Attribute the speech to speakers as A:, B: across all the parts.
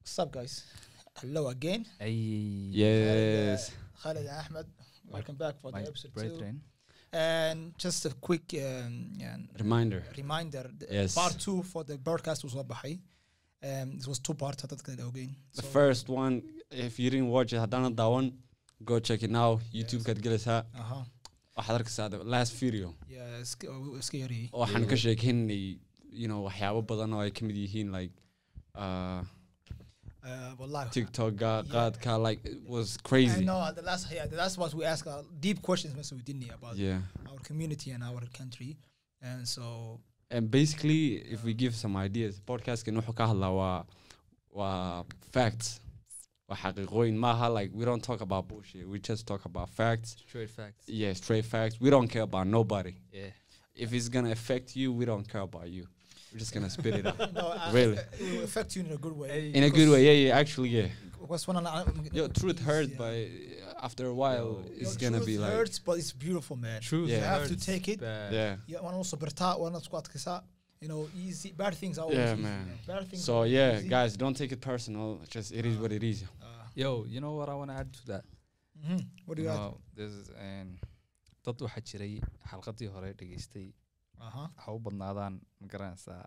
A: What's up, guys? Hello again.
B: Hey,
C: Yes.
A: Khalid and Ahmed. Welcome back for the
B: my
A: episode two.
B: brethren.
A: And just a quick um, and
C: Reminder.
A: reminder. the
C: Yes.
A: Part two for the broadcast was Wabahi. Um, it was two parts. I thought it again.
C: The first one, if you didn't watch it, haddaanad daawan, go check it now. YouTubekaad gelaysaa
A: Uh huh.
C: waxaad arkaysaa the last video
A: Yeah. Sc- uh, scary.
C: oo waxaan ka sheekeynay you know waxyaabo badan oo ay ka mid yihiin like uh,
A: Uh, wallahi.
C: tiktoka
A: Yeah.
C: qaadka like it was
A: I
C: crazy
A: know the last yeah, the last ones we asked uh, deep questions Mr. we didn't about
C: yeah
A: our community and our country. And so
C: and basically if we give some ideas podcastkan wuxuu ka hadlaa waa waa facts waa xaqiiqooyin maaha like we don't talk about bullshit we just talk about facts
B: Straight facts.
C: yeah straight facts we don't care about nobody
B: Yeah.
C: if it's gonna affect you, we don't care about you. We're just gonna spit it out.
A: no, I-
C: Really?
A: uh, it will affect you in a good way.
C: In a good way, yeah, yeah, actually, yeah.
A: Because when I- I'm-
C: Yo, truth hurts,
A: Yeah.
C: but uh, after a while,
B: Yo,
C: it's
A: Your
C: gonna
A: truth
C: be like,
A: hurts, but it's beautiful, man.
B: Truth.
C: Yeah.
A: You have to
B: hurts
A: take it.
B: bad.
C: yeah.
A: Yeah, one also berta, one squad kisa. You know, easy bad things are always
C: Yeah,
A: easy,
C: man.
A: Bad things.
C: So
A: are
C: yeah,
A: easy.
C: guys, don't take it personal. Just it is what it is.
A: Uh,
B: Yo, you know what I want to add to that?
A: mhm. What do you add?
B: No, this is um, an dad waxaa jiray xalqadii hore dhegeystay
A: Uh huh.
B: ha u badnaadaan ma garanaysaa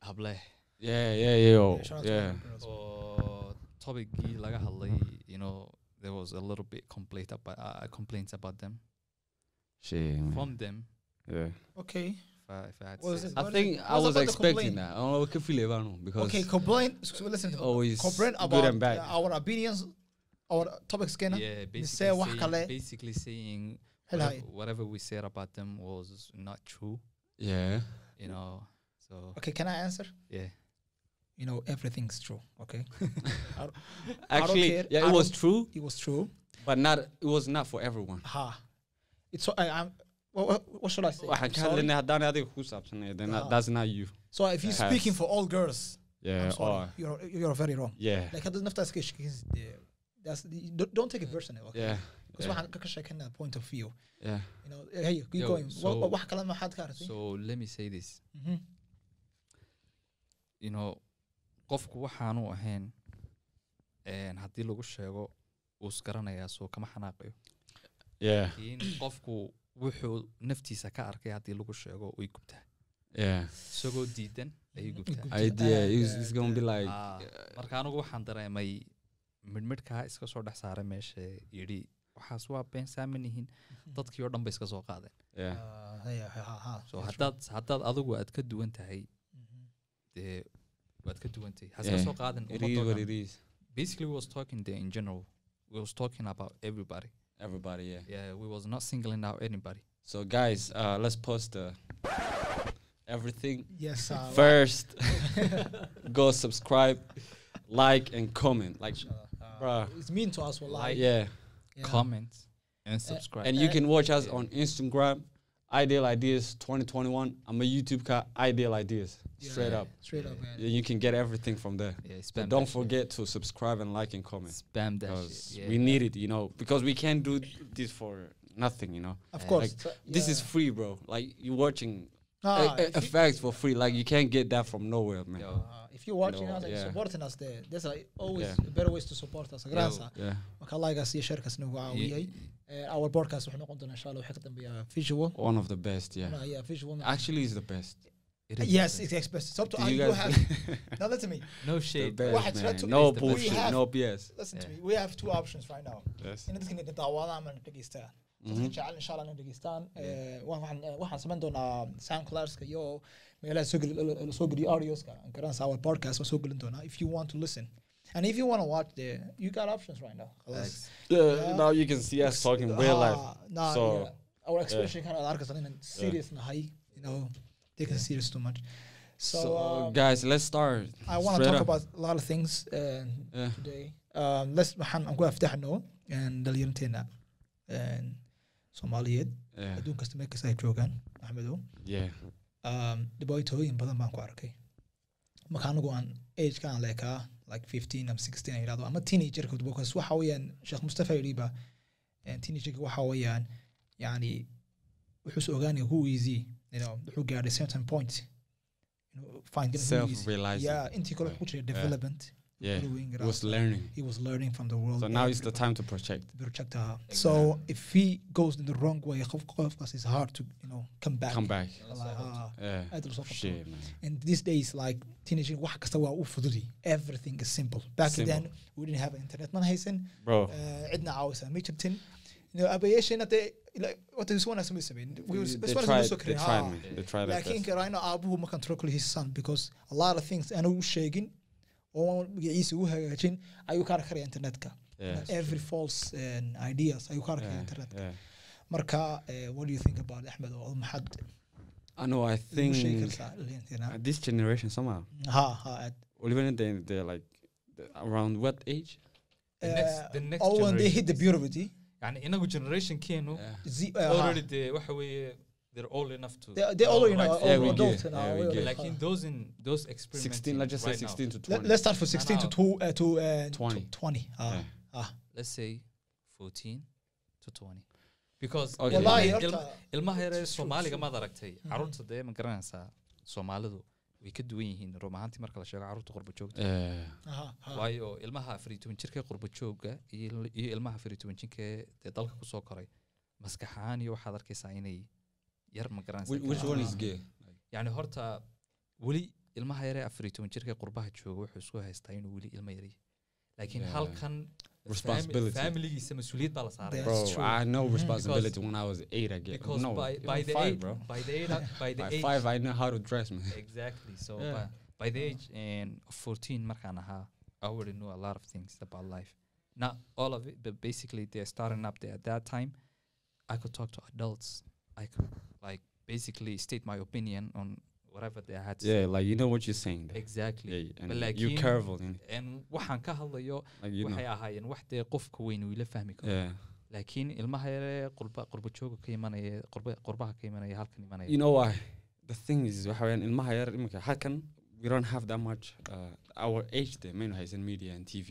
B: hable
C: Yeah, yeah, yeah, yo,
A: Shout out to
C: Oh, yeah.
A: all the girls.
B: oo tobicgii Oh, laga hadlay you know there was a little bit complaint about, uh, complaints about them
C: Shit, man.
B: from them
C: Yeah.
A: Okay.
B: if I, if I had to
A: Was
B: say
A: it-
C: I
A: What is
C: think
A: it-
C: I
A: what's
C: was
A: about the
C: expecting
A: complaint?
C: that. I don't know what feel about because
A: Okay. Complain. So listen.
C: always
A: Complain about
C: good and bad.
A: uh, our opinions, our topics. Scanner.
B: yeah basically,
A: say wax kale.
B: saying, basically saying whatever, whatever we said about them was not true
C: yeah.
B: you know so
A: Okay. Can I answer?
B: yeah
A: You know, everything's true. Okay.
C: Actually,
A: care.
C: yeah,
A: I
C: it was
A: don't-
C: true,
A: it was true.
C: but not. It was not for everyone.
A: Ha. It's. I, I'm. What, what should I say?
C: Waxaan ka
A: Sorry.
C: hadlaynay haddaan adiga ku saabsaneyn, then
A: Ah.
C: that- That's not you.
A: So if you're
C: Yeah.
A: speaking for all girls,
C: Yeah.
A: I'm sorry.
C: Uh, or-
A: You're you're very wrong.
C: Yeah.
A: Like هذا نفس تاسك uh, That's the, don't, don't take it personally. Okay?
C: Yeah.
A: Because واحد كاش كان point of view.
C: Yeah.
A: You know, hey, keep
B: Yo,
A: going.
B: so-
A: So واحد كلام ما حد كارثي.
B: so let me say this you know qofku waxaanu ahayn een, haddii lagu sheego wuu isgaranayaa soo kama xanaaqayo
C: Yeah.
B: laakiin qofku wuxuu naftiisa ka arkay haddii lagu sheego way gubtaa
C: Yeah.
B: isagoo diidan ayay gubtaa
C: Mm-hmm.
A: Gubtaa.
C: Idea. It's,
A: Yeah,
C: it's gonna be like.
B: Ah, marka anigu waxaan dareemay midhmidhkaa iska soo dhex saaray meesha yidhi waxaas waa been saamanihin dadkii oo dhan bay iska soo qaadeen
C: Yeah.
A: Uh,
B: so haddaad haddaad adigu aad ka duwan tahay
A: Mm-hmm.
B: dee waad ka duwantay ha iska
C: Yeah.
B: soo qaadin
C: It
B: ummadoo
C: is what
B: dhan.
C: it is.
B: basically we was talking there in general we was talking about everybody
C: Everybody. Yeah.
B: yeah we was not singling out anybody
C: So guys, uh, let's post uh, everything
A: Yes. uh,
C: first. Go subscribe, like, and comment. Like,
A: uh,
C: bruh.
A: It's mean to us والله.
C: Yeah.
A: Yeah.
B: comment and subscribe
C: And you
A: Uh,
C: can watch us
B: yeah.
C: on Instagram. Ideal Ideas 2021. I'm a YouTube cat. Ideal Ideas.
A: Yeah.
C: Straight up.
A: Straight up, man.
C: Yeah, You can get everything from there.
B: yeah spam
C: But
B: that
C: don't
B: shit.
C: forget to subscribe and like and comment.
B: spam that
C: Because
B: shit yeah.
C: we need it, you know. Because we can't do this for nothing, you know.
A: Of
B: Uh,
A: course.
C: This is free, bro. Like you're watching
A: Ah,
C: a- a-
A: if you-
C: effects for free. Like you can't get that from nowhere, man.
B: Yo,
A: uh, If you're watching
C: No,
A: us and
C: yeah.
A: supporting us there, there's like always
C: Yeah.
A: better ways to support us. Gransa.
C: Yeah.
A: Marka Allahga siiyo sheerkaas nagu caawiyay.
B: y-
A: Eh, Our podcast wuxuu noqon doonaa insha Allah wixii ka dambeeya uh, visual.
C: One of the best, yeah.
A: Yeah, visual.
C: Actually, it's the best.
B: it is
A: Yes,
B: the
A: it's expensive. So to,
C: Do
A: uh,
C: you
A: you
C: guys-
A: have now listen to me.
B: best. no
C: The
B: shade
A: Well, it's
C: best, man.
A: not-
C: No
B: it's the best.
C: bullshit,
A: We have-
C: no BS.
A: Listen to
B: Yeah.
A: me. We have two options right now.
C: Yes.
A: In dadka daawadaan ama dhegeystaan.
C: Mm-hmm.
A: Dadka jecel insha Allah inay dhegeystaan. Eh, Waxaan eh, waxaan samayn doonaa soundcloudska iyo meelaha soo geli- la- la- soo geliyo audioska. Garanaysa our podcast waan soo gelin doonaa uh, if you want to listen. And if you want to watch the you got options right now.
B: Thanks.
A: Yeah.
C: Now you can see us talking real life.
A: Ah, nah,
C: So,
A: yeah. our expression kind of arkaysan inaan serious nahay. You know, they can serious too much. So,
C: So,
A: um,
C: guys, let's start.
A: I want to
C: straight
A: talk
C: up.
A: about a lot of things uh,
C: Yeah.
A: today. Um, let's waxaan aan ku aftaxno and dhalinyaranteena and Soomaaliyeed
C: Yeah.
A: adduun kasta meel kasta ay joogaan Axmedow
C: Yeah.
A: um, dhibaatooyin badan baan ku arkay marka anigu aan age aan leekaa like 15 ama 16 aan yidhahdo ama teenagerka because waxa weeyaan sheekh mustafa yidhiba teenagerka waxa weeyaan yani wuxuu is ogaanaya who is he you know wuxuu gaadhay certain point you know, find out who he is.
C: Self-realizing.
A: yeah intii kale wuxuu ku jiray development
C: Yeah.
A: growing it
C: was
A: up.
C: learning.
A: He was learning from the world.
C: So now is the time to project.
A: project. So if he goes in the wrong way, of course, it's hard to you know come back.
C: Come back.
A: Like, ah,
C: Yeah.
A: aad ula soo qabto.
C: Shit, man.
A: And these days, like teenaging, wax kasta waa u fududi. Everything is simple. Back
C: Simple.
A: then, we didn't have internet. Man haysan.
C: Bro.
A: Uh, cidna caawisa ma jirtin. You know, aabbayaasheenna dee like wata iswana suma samayn. We was-
C: They
A: iswana suma
C: tried.
A: soo
C: They
A: karin.
C: tried,
A: Ah.
C: man. They tried their
A: laakiin
C: best.
A: karayna aabuhu ma control kuli his son because a lot of things aanu u sheegin oo magaciisa u hagaajin ayuu ka arkaraya internetka
C: Yeah, it's
A: every false um, ideas ayuu ka arkaya
C: Yeah,
A: internetka
C: yeah.
A: marka eh, what do you think about it, axmed oo maxaad
C: I know. I
A: ugu sheegi
C: think
A: kartaa you know?
C: uh, this generation somehow,
A: ha ha aad
C: or even they they're like th- around what age?
B: The next- the
A: Eh,
B: next
A: oh when they
B: generation
A: hit the
B: is-
A: puberty
B: يعني inagu generationkeenu
A: z- eh, ha.
B: already de waxa weeye they're old enough to
A: they they all you know oh,
C: Yeah,
A: all
C: we
A: adults
C: get,
A: now,
C: yeah, we
A: all
C: get.
A: adults.
B: Lakin those in those experimenting
C: 16. Let's just say
B: right now,
C: 16 to 20.
A: Let- let's start from 16 to
B: no.
A: two, eh, to eh,
C: 20.
A: 20 ah
C: Yeah.
A: ah
B: let's say 14 to 20 because
C: Okay.
B: ilmaha-
A: wallahi
B: ilma-
A: horta
B: ilmaha yare
A: Sure,
B: soomaaliga
A: sure.
B: maad aragtay carruurta dee ma garanaysaa soomaalidu way ka duwan yihiin run ahaantii marka la sheego carruurta qurba joogta
C: Yeah.
A: aha ha
B: waayo ilmaha afar iyo toban jirka qurba joogga iyo il- iyo ilmaha afar iyo toban jirka ee dee dalka kusoo koray maskax ahaan iyo waxaad arkaysaa inay yar ma
C: Which, which
B: garanaysaa
C: one is gay?
B: yani horta weli ilmaha yaree afar iyo toban jirka qurbaha jooga wuxuu isku haystaa inuu weli ilma yaray laakiin
C: Yeah.
B: halkan fami-
C: Responsibility.
B: familigiisa mas-uuliyad baa la saaray
A: That's
C: Bro,
A: true.
C: I know
A: Mhm.
C: responsibility when I was eight. I get
B: because
C: no
B: by,
C: even
B: by the
C: five,
B: age,
C: bro.
B: by the age, by the
C: By
B: age,
C: five, I know how to dress, man.
B: exactly. So
C: Yeah.
B: by, by the age and of 14, markaan ahaa, I already knew a lot of things about life. Not all of it, but basically they're starting up there at that time. I could talk to adults. I could like basically state my opinion on whatever they had to
C: Yeah, like you know what you're saying.
B: say.
C: there.
B: Exactly.
C: Yeah, and
B: But like
C: you're
B: him-
C: careful. you know,
B: And waxaan ka hadlayo
C: Like you
B: waxay
C: know.
B: ahaayeen wax dee qofka weyn uu ila fahmi karo
C: Yeah.
B: laakiin ilmaha yaree qurba qurba jooga ka imanaya qurba qurbaha ka imanaya halkan imanaya
C: You know why? The thing is, waxaween, ilmaha yar imika, how can we don't have that much uh, our age there, main is in media and TV.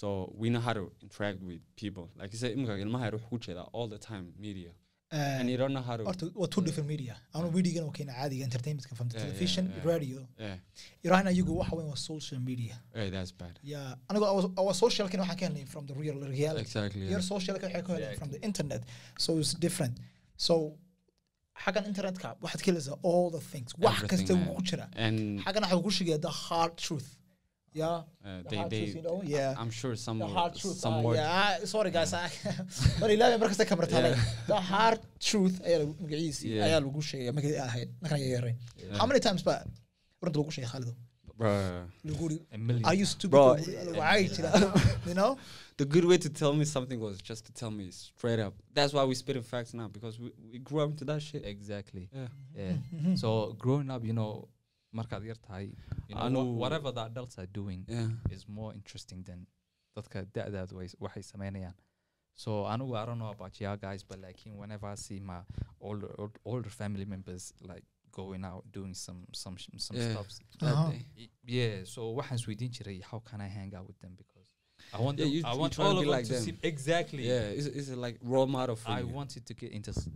C: So we know how to interact with people. Like you say, imika, ilmaha yar wuxuu ku jiraa all the time media.
A: Eh,
C: And you don't know how to
A: horta waa two different media aanu mediagana okeyna caadiga entertainmentka famta
C: Yeah, yeah,
A: television
C: yeah.
A: radio
C: Yeah.
A: irahna iyagu waxa weyn waa social media
C: Hey, that's bad.
A: ya anigoo awa socialkan waxaan ka helnay from the real reality
C: Exactly.
A: your socialkan waxay ka heleen from the internet so it's different so xaggan internetka waxaad ka heleysaa all the things wax
C: Everything,
A: kasta
C: yeah.
A: wuu ku jiraa
C: And
A: xaggan waxaa ku shigaya the hard truth ya
C: uh,
A: the
C: they,
A: hard truth you
C: they,
A: know yeah
C: I'm sure some,
A: the hard truth
C: some
A: ah,
C: word.
A: yeah, I- sorry guys I- bal ilaahay mar kasta kamar taalay. the hard truth ayaa lagu- magaciisii
C: Yeah.
A: ayaa lagu sheegay markii ay ahayd markaan yaryarayn.
C: Yeah.
A: how many times ba runta lagu sheegay Khalid?
C: Bro.
A: lagu ri-
B: A million.
A: are you stupid
C: Bro,
A: Lagu ri- lagu cayi jira. you know
C: The good way to tell me something was just to tell me straight up. That's why we spit in facts now because we, we grew up into that shit.
B: exactly
C: Yeah.
B: yeah so growing up you know markaad yar tahay you know,
C: I
B: wha-
C: know-
B: whatever the adults are doing
C: Yeah.
B: is more interesting than dadka da'daadu way- waxay sameynayaan so anigu i don't know about you guys but like in whenever i see my older old- older family members like going out doing some some sh- some
C: Yeah.
B: stuffs
A: Uh-huh.
B: I- yeah so waxaan isweydiin jiray how can i hang out with them because i want
C: Yeah,
B: them,
C: you-
B: i
C: you
B: want
C: try to
B: all
C: be
B: of them
C: like
B: to
C: them.
B: see exactly
C: Yeah, it's, it's a, like role model for
B: i
C: you.
B: wanted to get into s-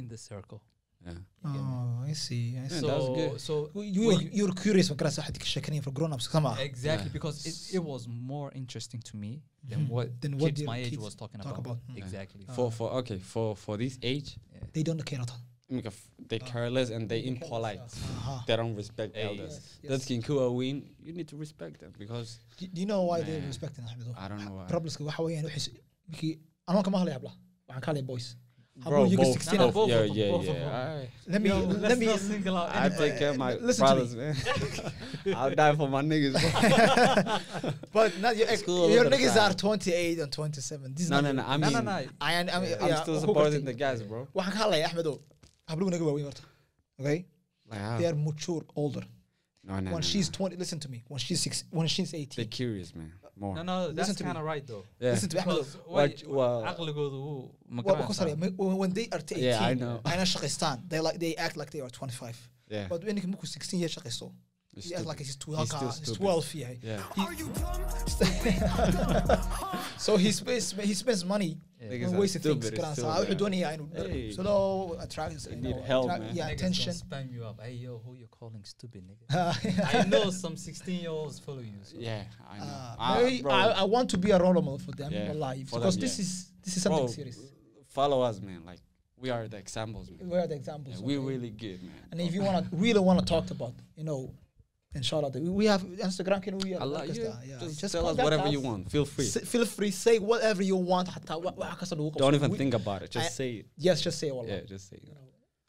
B: in the circle
C: Yeah.
A: oh I see I see
C: that was
B: so
C: good.
B: so
A: you
B: Well, you-
A: you're curious markaa sax ka sheekanayeen for grown ups kama ah.
B: Exactly,
C: Yeah.
B: because it, it was more interesting to me than
A: Mhm.
B: what
A: Than what
B: kids
A: your
B: my age
A: kids
B: was talking
A: talk about.
B: about.
A: Mm.
C: Yeah.
B: Exactly.
A: Uh,
C: For for okay for for this age,
A: they don't care at all
C: like, if they
A: Ah.
C: careless and they impolite.
A: Aha.
C: They don't respect
B: Hey.
C: elders.
A: Yes, yes.
C: That's King Kua Win. You need to respect them because
A: Do do you know why they
C: Nah.
A: respecting Ahmed though?
C: I don't know why.
A: Problemska waxa weeyaan waxay markii anoo kama hadlay habla waxaan ka hadlay boys
C: bro,
A: you get
C: both,
A: 16
C: both,
B: both
C: yeah,
B: of them,
C: yeah,
B: both of them.
C: yeah. I-
A: let me let me
B: single out
C: I take care of my
A: listen to me.
C: brothers, man. I'll die for my niggas. bro.
A: but not your ex-
C: School
A: your
C: all the
A: niggas
C: time.
A: are 28 and 27 this is
C: no,
A: not
C: no,
A: your-
C: no. I
B: no,
C: mean,
B: no, no.
A: I am I'm,
C: I'm
A: yeah,
C: still
A: who
C: supporting
A: gartay?
C: the guys, bro.
A: waxaan ka hadlay Ahmed oo habluhu naga waaweyn horta okay
C: Like, how?
A: they are mature older
C: no, Ah. no, no,
A: when
C: no.
A: she's 20 listen to me when she's six when she's
C: they're
A: 18
C: curious, man. More.
B: No, no, that's
A: Listen to me.
B: kind of right though.
C: Yeah.
A: listen to me Ahmed
B: Because why-
C: Watch- well,
B: caqligoodu wuu ma
A: Well, because sorry,
B: garanaysaa.
A: when when they are 18
C: Yeah, I know.
A: ayna shaqaystaan they like they act like they are 25
C: yeah.
A: but when you 16 years shaqayso
C: He's
A: yeah, like
C: stupid.
A: he's twelve.
C: still
A: He's
C: stupid.
A: twelve. Yeah.
C: yeah.
A: so he spends he spends money
C: Like
B: Yeah.
C: Niggas
A: on
C: are
A: wasted things.
C: stupid, it's
A: Karan. So
C: still
A: I
C: there.
A: don't need. I know.
C: Hey.
A: So no attracts.
C: They
A: you
C: need
A: know,
C: help,
A: attract-
C: man.
A: Yeah,
B: Niggas
A: attention.
B: don't Spam you up. Hey yo, who you calling stupid nigga?
A: Uh,
B: I know some 16 year olds follow you. So.
C: Yeah, I know.
A: uh,
C: Ah,
A: maybe
C: bro,
A: I, I want to be a role model for them
C: Yeah,
A: alive
C: for
A: because
C: them,
A: this is this is something
C: Bro,
A: serious.
C: follow us, man. Like we are the examples, man.
A: We are the
C: Yeah,
A: examples.
C: we
A: okay?
C: really good, man.
A: and if you wanna really wanna talk about you know, inshallah, that we- we have Instagram. Can we?
C: Allah,
A: podcast,
C: yeah,
A: uh, yeah,
C: just, tell us
A: contact
C: whatever you
A: us.
C: want. Feel free.
A: S- feel free say whatever you want. حتى وا- واحد كسر لغوك.
C: Don't even
A: We-
C: think about it. Just
A: I-
C: say it.
A: Yes, just say
C: Yeah,
A: والله.
C: just say it.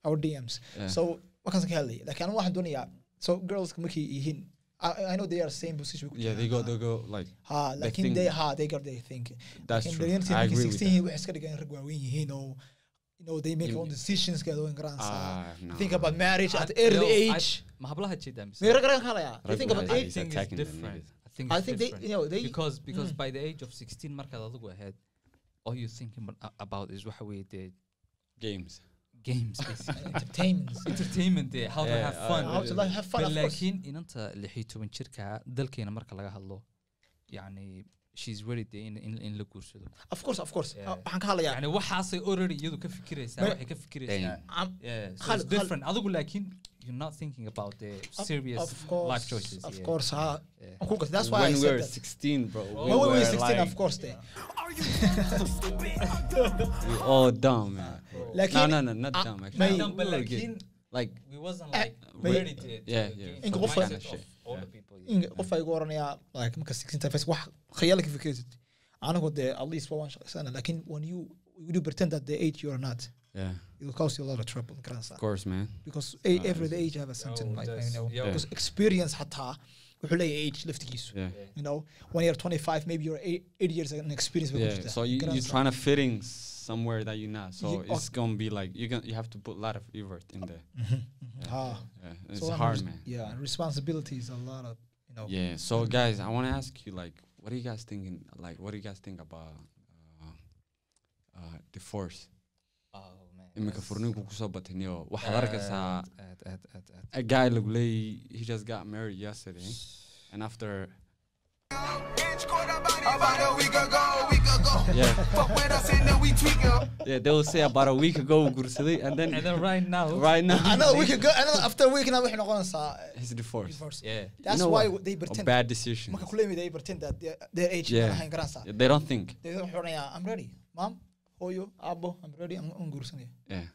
A: Our DMs.
C: Yeah.
A: So وكان كهلي لكن أنا واحد دنيا. So girls كمكي يهين. I, I know they are same position.
C: yeah, they go, they go. Ah, Like
A: ها
C: they
A: لكن
C: think-
A: they ها they got they think.
C: that's
A: لكن
C: true.
A: بالنسبة
C: I
A: لمكي
C: agree with
A: 16
C: that.
A: هي وحش كده كان رجع وين يهين أو you know they make
C: You-
A: own decisions كده وين قرانسا.
C: Ah, no.
A: Think about marriage at
B: I-
A: early
B: yo, I-
A: age.
B: ما هبلها جدا بس.
A: They رجع خلايا. They
C: Rag
A: think about
C: wallahi.
A: age.
B: I
C: He's
B: think it's
C: attacking them
B: different.
C: niggas.
B: I think
A: I
B: it's
A: think they
B: different.
A: you know they
B: because because
A: Mm.
B: by the age of 16 marka la go ahead all you thinking abo- about is waxa way the
C: games.
B: games basically.
A: entertainment.
B: entertainment day how to
C: Yeah,
B: have
C: uh,
B: fun
A: How to like have fun of course.
B: لكن in inta lixitoban jirka dalkeena marka laga hadlo yani she's ready day in in, in la guursado
A: Of course of course.
B: Yeah.
A: waxaan ka hadlayaa
B: yani waxaasay already iyadu ka fikiraysaa
A: Ma-
B: waxay ka fikiraysaa
A: I'm-
B: yeah so
A: Khal-
B: it's
A: khal-
B: different adigu laakiin you're not thinking about the
A: Of-
B: serious
A: of course,
B: life choices
A: Of
B: yeah.
A: course, huh?
B: Yeah.
A: Of course, that's why
C: when
A: I
C: we
A: said
C: were
A: that.
C: 16, bro.
A: when we were 16,
C: like,
A: of course, they.
C: we all dumb, man.
A: Like
C: no,
A: in-
C: no, no, not
A: Ah,
C: dumb. Actually,
A: mate.
C: No,
B: Dumb, but
C: we were
B: like
C: good.
B: in-
C: like
B: we wasn't
A: Eh,
B: like
C: we-
B: ready to to
C: yeah, yeah.
B: gain
A: Inga
B: from
A: qofka-
B: mindset of all the people yeah.
A: In qof ay goranayaa like marka 16 ta face wax khayaalka fikirsid anigu de at least one sana lakin when you when you pretend that the age you are not
C: yeah,
A: it will cause you a lot of trouble gransa
C: of course, man.
A: because a-
C: Ah,
A: every
C: it's-
A: age have a something
B: Oh,
A: like you
B: that's-
A: know
B: yeah.
A: because experience hataa wuxuu leeyahay age laftigiisu
C: Yeah,
A: you know when you're 25 maybe you're eight, eight years an experience
C: yeah. So you you trying to fit in somewhere that you're not. So
A: You-
C: it's gonna be like you gonna you have to put a lot of effort in there.
A: ah
C: Yeah, it's
A: so I'm
C: hard,
A: res-
C: man.
A: yeah and responsibility is a lot of you know
C: Yeah. So guys, I want to ask you like, what do you guys thinking? Like, what do you guys think about uh, uh, divorce?
B: Oh, man,
C: Iminka
B: that's-
C: furniinku kusoo batay iyo waxaad arkaysaa
B: aad aad aad aad
A: Eh.
C: a guy lagu leeyahy he just got married yesterday and after yeah yeah they will say about a week ago wuu guursaday and
B: and
C: then
B: then right now
C: right now
A: another week ago another after a week now waxay noqonaysaa
C: he's divorced
A: divorce
B: yeah
A: uh, that's
C: know
A: why
C: what?
A: they
C: a
A: pretend
C: bad decision
A: marka kuleemi they pretend that their- their age
C: Yeah.
A: yeah. ahayn garansa
C: they don't think
A: they don't xoraya i'm ready mom hooyo abo i'm ready i'm I'm guursanaya
C: yeah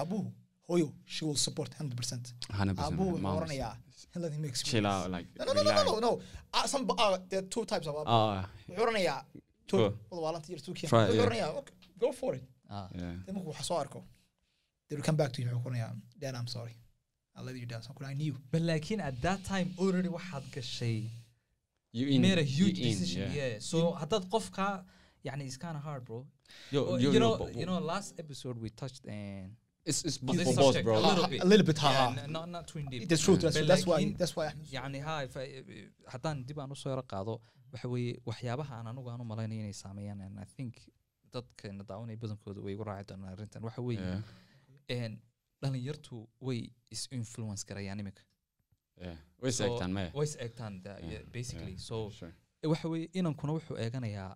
A: abuhu hooyo she will support 100% abuhu
C: 100% man.
A: wuxuu
C: Moms,
A: oranayaa let him experience
C: chill out like
A: no no no no
C: relax.
A: no no uh, some uh, there are two types of abu
C: ah
A: wuxuu oranayaa two
C: Go.
A: wada waa lanta yar two kiyan
C: Try,
A: wuxuu
C: yeah.
A: oranayaa okay, go for it
B: ah
C: yeah
A: then markuu waxa soo arko they will come back to you wuxuu oranayaa dad i'm sorry i let you down so i knew
B: but laakiin at that time already waxaad gashay
C: you
B: you
C: in
B: made a
C: you
B: huge
C: in,
B: decision yeah so haddaad qofka yani it's kind of hard bro
C: Yo,
B: Well,
C: you,
B: you
C: know,
B: know
C: but-
B: you know last episode we touched and
C: it's
B: this
C: it's for both,
B: subject,
C: bro.
B: a little
A: A
B: bit
A: little bit, ha,
B: Yeah,
A: ha.
B: n- not not twin deep
A: the truth that's,
B: But
A: that's why
B: laakiin-
A: that's why Ahmed-
B: يعني ها if I- haddaan dib aan usoo yara qaado waxa weeye waxyaabaha aan anigu aan u malaynayo inay saameeyaan and i think dadkeena daawanaya badankooda way igu raaci doonaan arrintan waxa weeye
C: Yeah,
B: een, dhalinyartu way is influence garayaan imika
C: yeah. Wait a
B: So-
C: second, man.
B: way is eegtaan da-
C: Yeah,
B: yeah, basically
C: yeah,
B: so
C: Sure.
B: eh, waxa weeye inankuna wuxuu eeganayaa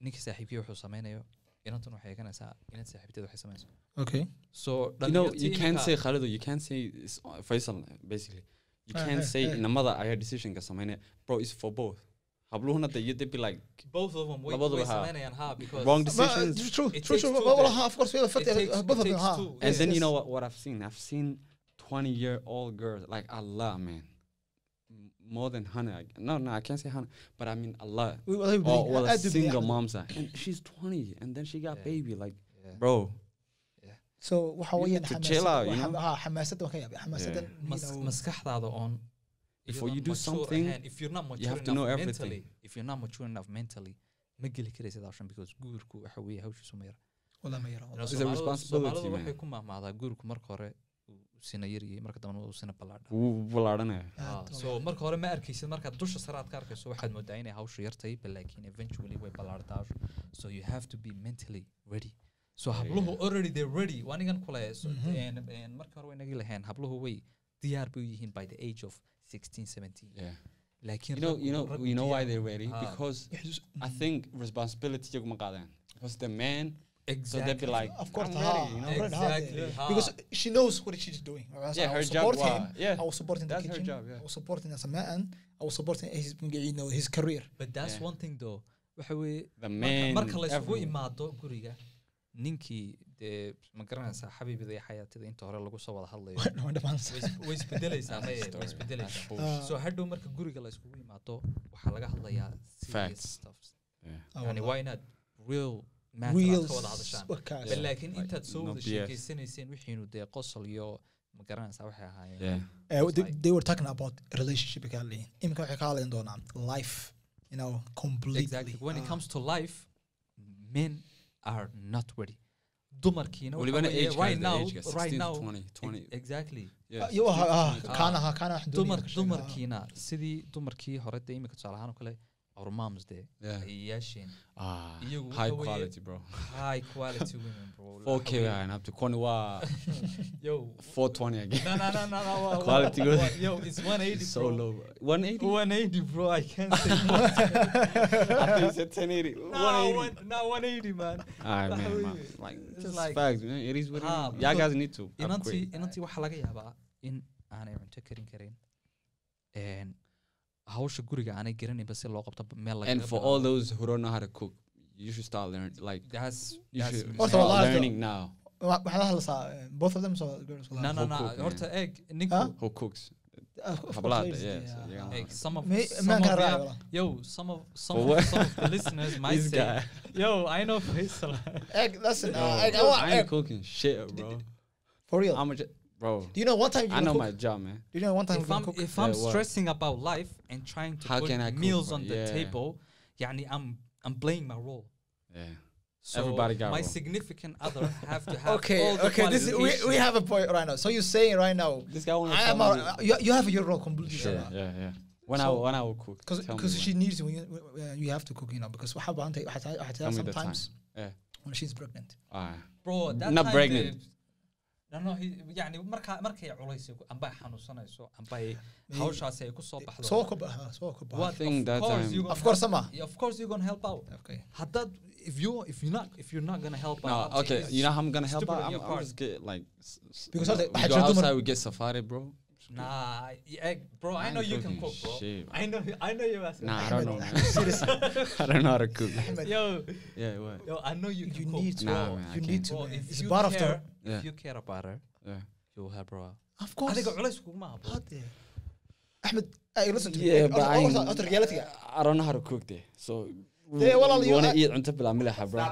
B: ninka saaxiibkiya wuxuu sameynayo inantuna waxay eeganaysaa inant saaxiibteeda waxay sameynayso
A: okay
B: so
C: You know,
B: dhalinyartii
C: you can't
B: iminka-
C: say Khalido, you can't say it's uh, Faisal, uh, basically. You
A: Uh,
C: can't
A: uh,
C: say
A: uh.
C: in a mother I had decision because I mean, bro, it's for both. Habluhuna that you'd be like
B: both of them way,
C: Labadaba
B: way
C: ha.
B: sameynayaan ha because
C: wrong
A: But, uh,
C: decisions.
A: true, true,
B: It takes
A: true.
B: two
A: Well,
B: then.
A: uh, of course, we have
B: it
A: affected
B: takes,
A: uh, both
B: it
A: of them.
B: takes
A: huh?
B: two
C: And
A: Yes,
C: then you
A: yes.
C: know what, what I've seen? I've seen 20 year old girls, like Allah, man. M- More than Hannah. I- No, no, I can't say Hannah, but I mean Allah.
A: We- well, I
C: Or
A: believe-
C: well,
A: I
C: a
A: do believe
C: single
A: that.
C: mom's are. And she's 20 and then she got
B: Yeah.
C: baby. Like,
B: Yeah.
C: bro,
A: So waxa
C: You
A: weeyaan
C: need to
A: xamaasad-
C: chill out, you
A: waxa-
C: know?
A: ha, xamaasadda waan ka yaabay. Xamaasaddan,
C: Yeah.
A: you
B: Mas-
A: know,
B: maskaxdaada on if
C: Before
B: you're
C: you
B: not
C: do
B: mature
C: something,
B: ahead- if you're not mature
C: have to
B: enough
C: know
B: mentally,
C: everything.
B: if you're not mature enough mentally ma geli karaysid hawshan because guurku waxa weeye hawshiisu ma yara
A: wallah ma yaro, wallah.
C: It's a responsibility,
B: Soomaalidu waxay
C: man.
B: ku mahmahdaa guurku marka hore uu sina yar yahay marka dambena uu sina ballaadha
C: w- well, I don't know.
A: Ah,
B: Ah, so marka hore ma arkaysid markaad dusha sare aad ka arkayso waxaad moodaa inay hawshu yartay ba laakiin eventually way ballaartaa hawshu so you have to be mentally ready so habluhu already they're ready waanigan kule so,
A: Mhm.
B: and- and marka hore way nagi lahayn habluhu way diyaar bay u yihiin by the age of 16 17
C: yeah.
B: laakiin
C: You know,
B: rag-
C: you know,
B: rag
C: you know why
B: diyaar-
C: they're wary
B: Ah.
C: because
A: Uh-huh. Yes,
C: I think responsibility iyagu ma qaadaan. Was the man, so
B: exactly.
C: they'd be like,
A: of course uh-huh.
C: I'm
A: ha,
C: ready, you know.
A: I'm ready, ha,
B: Exactly,
A: yeah.
B: ha.
A: because she knows what she's doing whereas
C: yeah,
A: I
C: her
A: will
C: job.
A: support
C: Wow.
A: him
C: Yeah,
A: I will support in the
C: That's her
A: kitchen
C: job, yeah.
A: I will support him as a man I will support in his you know his career
B: but that's
C: Yeah.
B: one thing though waxa weye
C: the
B: marka
C: man.
B: marka la isugu
C: everyone.
B: imaado guriga ninkii dee ma garanaysaa xabiibida iyo xayaatida inta hore lagu soo wada hadlayo
A: no the man's
B: way is- way isbedelaysaa
C: That's the
B: maye way
C: story. That's
B: isbedelaysaa
C: bullshit.
B: so hadhow marka guriga la iskugu imaado waxaa laga hadlayaa serious
C: Facts.
B: stuffs
C: Yeah.
B: yani waa inaad real matter aad
A: real
B: ka wada hadashaan
A: workers
B: But laakiin
C: Like,
B: intaad soo
C: no
B: wada
C: BS.
B: sheekeysanayseen wixiinu dee qosol iyo ma garanaysaa waxay
C: Yeah.
B: ahaayeen
A: Uh, they,
B: Like-
A: they were talking about relationship again. Imka waxay ka hadlayan doonaan life, you know, completely.
B: exactly when it
A: Ah.
B: comes to life men are not ready dumarkiina waxa
C: Walibana
B: weeye,
C: age
B: right
C: guys, the
B: now
C: age guys,
B: right
C: 16
B: now
C: to 20, 20.
B: exactly
C: Yeah.
A: Ah, yo, ah, ah,
C: 16 to
B: Ah.
A: kaana- kaana wax doonaya
B: dumar
A: ka sheega.
B: dumarkiina sidii dumarkii hore dee imika tusaale ahaan oo kale our moms dee
C: 20. Yeah.
B: ay yeesheen
C: Ah,
B: Iyagu
C: high
B: waxa weeye-
C: quality, bro.
B: high quality women bro
C: 4K
B: Waxa
C: and up to Kony wa
B: weeye, yo
C: 420 again.
B: no no no no no wa- wa-
C: Quality
B: wa-
C: good.
B: yo it's 180
C: It's so
B: bro.
C: low. bro. 180.
B: 180 bro I can't say more.
C: I think it's 1080.
B: no
C: 180.
B: one- no 180 man
C: Alright,
B: Waxa
C: man,
B: weeye,
C: man. Like,
B: it's
C: just
B: like-
C: facts, man. It is what it
B: Ah,
C: is. Y'all
B: because
C: guys need to
B: inantii
C: upgrade.
B: inantii waxaa laga yaabaa in ah, aanay cunto karin karin Een, hawsha guriga aanay garanayba si loo qabto meel
C: And
B: lagaga
C: for all those who don't know how to cook, you should start learning. Like,
B: bilaabo. That's-
C: you
B: that's
C: should
A: Also,
B: mistake.
A: a lot
C: start
A: of the-
C: learning now.
A: Wa- waxaa la hadlaysaa, eh, both of them so girls will
B: no
A: have-
B: no
C: Who
B: no
C: cook,
B: horta eeg
A: Huh?
B: ninku
C: Who cooks?
A: Ah, of course,
C: hablaada,
A: ladies,
C: yeah,
A: yeah.
C: so yeah.
B: eeg some of
A: Me-
B: some
A: man
B: of
A: kana raacay
B: the-
A: wallah.
B: yo some of some
C: For what?
B: of, some of the listeners might
C: This
B: say
C: guy.
B: yo I know Faisal
A: Egg, listen,
C: Yo,
A: uh, egg, I want
C: I ain't
A: egg.
C: cooking shit, bro.
A: For real.
C: I'm a, j- bro.
A: Do you know one time you
C: I
A: gonna
C: know
A: cook?
C: my job, man.
A: Do you know one time you
B: if I'm
A: gonna cook?
B: if I'm
C: Yeah, what?
B: stressing about life and trying to
C: How
B: put
C: can I cook,
B: meals
C: bro?
B: on the
C: Yeah.
B: table يعني I'm I'm playing my role
C: Yeah.
B: so
C: Everybody got
B: my
C: role.
B: significant other have to have
A: Okay,
B: all the
A: okay, this is, we,
B: qualifications.
A: we have a point right now. So you're saying right now,
C: This guy wants
A: I am a, you, you have your role completely.
C: Sure.
A: right?
C: Yeah, yeah. When I
A: So-
C: when I will cook.
A: because
C: tell me
A: because
C: when.
A: she needs you when you, when you have to cook you know because what happened I had, I had
C: Tell me the time.
A: sometimes
C: Yeah.
A: when she's pregnant
C: Alright.
B: bro that
C: Not
B: time
C: pregnant.
B: they- no no he- yani marka markay culays amba ay xanuunsanayso amba ay
A: Maybe.
B: hawshaasi ay ku soo baxdo
A: so uh, so
B: What,
C: I think
B: of
C: that
B: course
C: time-
B: you gonna
A: of course ama
B: help- of course you're gonna help out
A: okay
B: haddaad if you if you're not if you're not gonna help
C: No,
B: out
C: okay. You know how I'm gonna help
B: stupid
C: out?
B: on
C: I'm,
B: your
C: I'm
B: part.
C: just get like s- s-
A: Because
C: you
A: of the-
C: know,
A: I
C: we go
A: told them-
C: outside, we get safari, bro.
B: nah yeah, bro I,
C: ain't
B: know you can
C: cooking
B: cook bro
C: shit,
B: I know I know you as
C: Nah, I don't know,
A: Ahmed,
C: man.
A: seriously
C: I don't know how to cook.
A: Ahmed,
B: yo
C: Yeah, what?
B: yo I know you can
A: you
B: cook
A: need to
C: Nah, man, I
A: you need
C: can't.
A: to
B: bro
A: man.
B: if
A: it's
B: you
A: part of
B: care
A: the
C: Yeah.
B: if you care about her
C: Yeah.
B: you'll help her out
A: of course
B: adiga culays kuguma hablo
A: What the- Ahmed hey listen to me
C: Yeah,
A: Hey,
C: but
A: also-
C: I,
A: also- also reality
C: I don't know how to cook there. So we,
A: Yeah, well,
C: we
A: you-
C: wanna
A: I-
C: eat on top of the bro.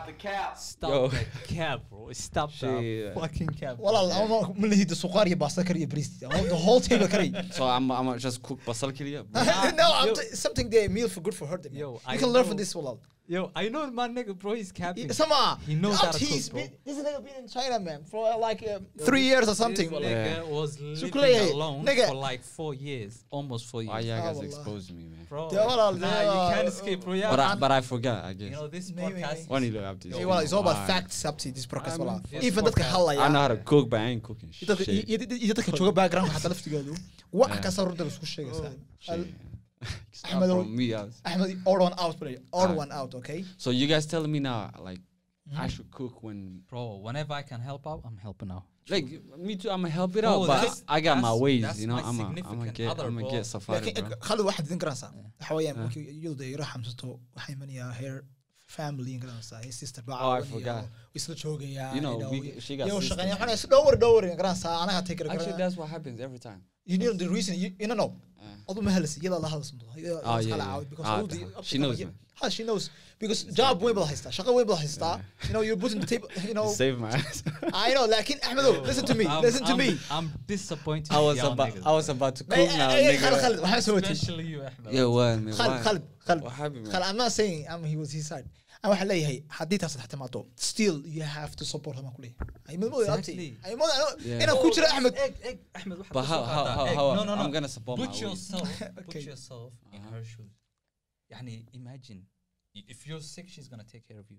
B: stop
C: Yo.
B: the cab bro stop the
C: Shit.
B: fucking cab bro.
A: والله أنا ما اللي هي السقار يبى سكر يبى بريستي the whole table كري
C: So I'm I'm just cook basal kiliya. bro.
A: no I'm
B: Yo.
A: t- something they meal for good for her man.
B: Yo,
A: you
B: I
A: can learn from
B: know.
A: this والله
B: Yo, I know my nigga, bro. He's capping.
A: Sama,
B: He knows
A: out
B: how to cook,
A: he's
B: bro.
A: been, this nigga been in China, man, for like um, three years or something.
B: This
A: والله.
B: nigga was living
A: Shukriya,
B: alone
A: nigga.
B: for like four years, almost four
C: Why
B: years.
C: y'all
A: Ah,
C: guys
A: wallah.
C: expose me, man?
B: Bro,
A: Yeah, well,
B: nah,
A: I'll-
B: you can't
A: uh,
B: escape, bro. Yeah,
C: But I but I forgot. I
B: you
C: guess.
B: know this
A: Maybe,
B: podcast.
C: When you look up this.
A: Yeah, well, it's all about
C: Why?
A: facts up to this podcast.
C: I
A: والله.
C: mean,
B: this
A: Even dadka
B: podcast-
C: I know
A: hadlaya.
C: how to cook, but I ain't cooking shit.
A: dadka- i- i- i- i- dadka jooga background xataa laftigoodu wax
C: Yeah.
A: kasta runta la isku
B: Oh,
A: sheegaysaa.
C: Shit. Stop
A: Ahmed,
C: from me, guys.
A: Ahmed, all one out, play. All
C: Ah.
A: one out, okay?
C: So you guys telling me now, like I should cook when,
B: Bro, whenever I can help out, I'm helping out.
C: like me too. I'ma help it
B: Bro,
C: out, but
B: that's-
C: I got my
B: that's-
C: ways,
B: that's
C: you know.
B: my
C: I'ma I'ma
B: significant
C: get
B: other,
C: I'ma
B: bro.
C: get safari,
A: laakiin
C: bro.
A: khali waxaad idin garanaysaa waxa weeyaan
C: Yeah.
A: markii iyadu yaro xamsato waxaa imanaya her family in garanaysaa his sister baa
C: Oh, I
A: caawanaya,
C: forgot.
A: way isla joogayaa
C: You know,
A: you
C: we- she got
A: iyagu
C: sisters.
A: shaqeynaya waxay is dhowr dhowr in garanaysaa anaga take care
C: Actually,
A: garanaya.
C: that's what happens every time.
A: you know the reason you, you don't know
C: Uh.
A: although mahalis iyada la hadasmo
C: Ah, yeah, yeah.
A: because
C: Ah,
A: all the
C: the- she knows, man.
A: ha she knows because job way bal haysta shaqo way bal haysta you know you're putting the table you know
C: Save my ass.
A: I know لكن
B: Yo,
C: Oh.
A: أحمد listen to me
B: I'm-
A: listen to
B: I'm-
A: me
B: I'm disappointed.
C: I was
B: with y'all
C: about
B: niggas,
C: I was about to
A: Ma-
C: cook now,
A: eh, eh, خالد
C: nigga.
A: خالد waxaa
B: bro.
A: sawatay
B: especially you, Ahmed.
C: Yeah, what, man?
A: خالد
C: Why?
A: خالد خالد
C: What happened,
A: خالد
C: man?
A: I'm not saying I'm he was his side أنا waxaa leeyahay haddii taas taxta maato still you have to support him kuleeyahay ay madmooda
B: Exactly.
A: abti ay madmooda
C: Yeah.
A: inaan ku jira Ahmed
B: Egg, egg, Ahmed, waxaad
C: But
B: ka
C: how
B: soo
C: how
B: qaadaa.
C: how,
B: Egg,
C: how
B: no, no, no.
C: I'm gonna support my
B: put
C: ways.
B: yourself
A: Okay.
B: put yourself in
C: Uh-huh.
B: her shoes يعني imagine i- if you're sick she's gonna take care of you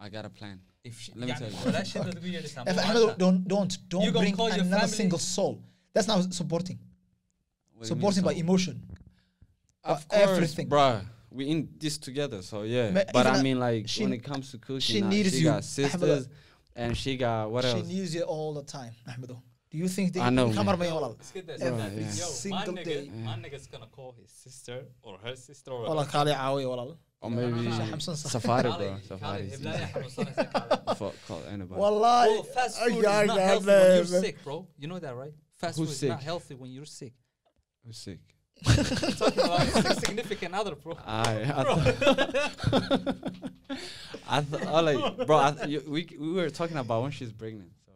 C: I got a plan.
B: if she
C: Let me tell you.
B: يعني walaasheedaad ugu yeedhaysaa
A: If
B: ma
A: Ahmed
B: ogaata.
A: don't don't
B: You
A: don't
B: gonna
A: bring
B: call your
A: another
B: family?
A: single soul that's not supporting
C: What What do you mean
A: supporting by
C: some-
A: emotion.
C: Of
A: by
C: course,
A: everything.
C: bruh. We in this together, so yeah.
A: Ma-
C: but
A: even
C: I
A: a-
C: mean, like
A: she-
C: when it comes to cooking,
A: she
C: uh,
A: needs
C: she
A: you,
C: got sisters, and she got what
A: she
C: else?
A: needs you all the time, Ahmedo. Do you think they
C: I know,
A: come
C: man.
A: out my all
C: Bro, yeah.
A: Single day.
B: My nigga's gonna call his sister or her sister or
A: Wala kali caawiya walaal.
C: Or
B: No, no,
C: maybe
B: no, no.
A: Hamsan sa-
C: safari,
B: Kali-
C: bro.
B: Kali,
C: Safari. is
B: Hiblaya
C: easy.
B: Hamsan Kali.
C: Fuck, call anybody.
A: Wallahi.
B: Bro, fast
A: ay,
B: food is
A: ay,
B: not
A: ay,
B: healthy when you're
A: man.
B: sick, bro. You know that, right? Fast
C: Who's
B: food is not
C: sick?
B: healthy when you're sick.
C: I'm sick.
B: You're talking about your sig- significant other, bro.
C: I, I, th- I, th- I like, bro. I th- you, we we were talking about when she's pregnant. So.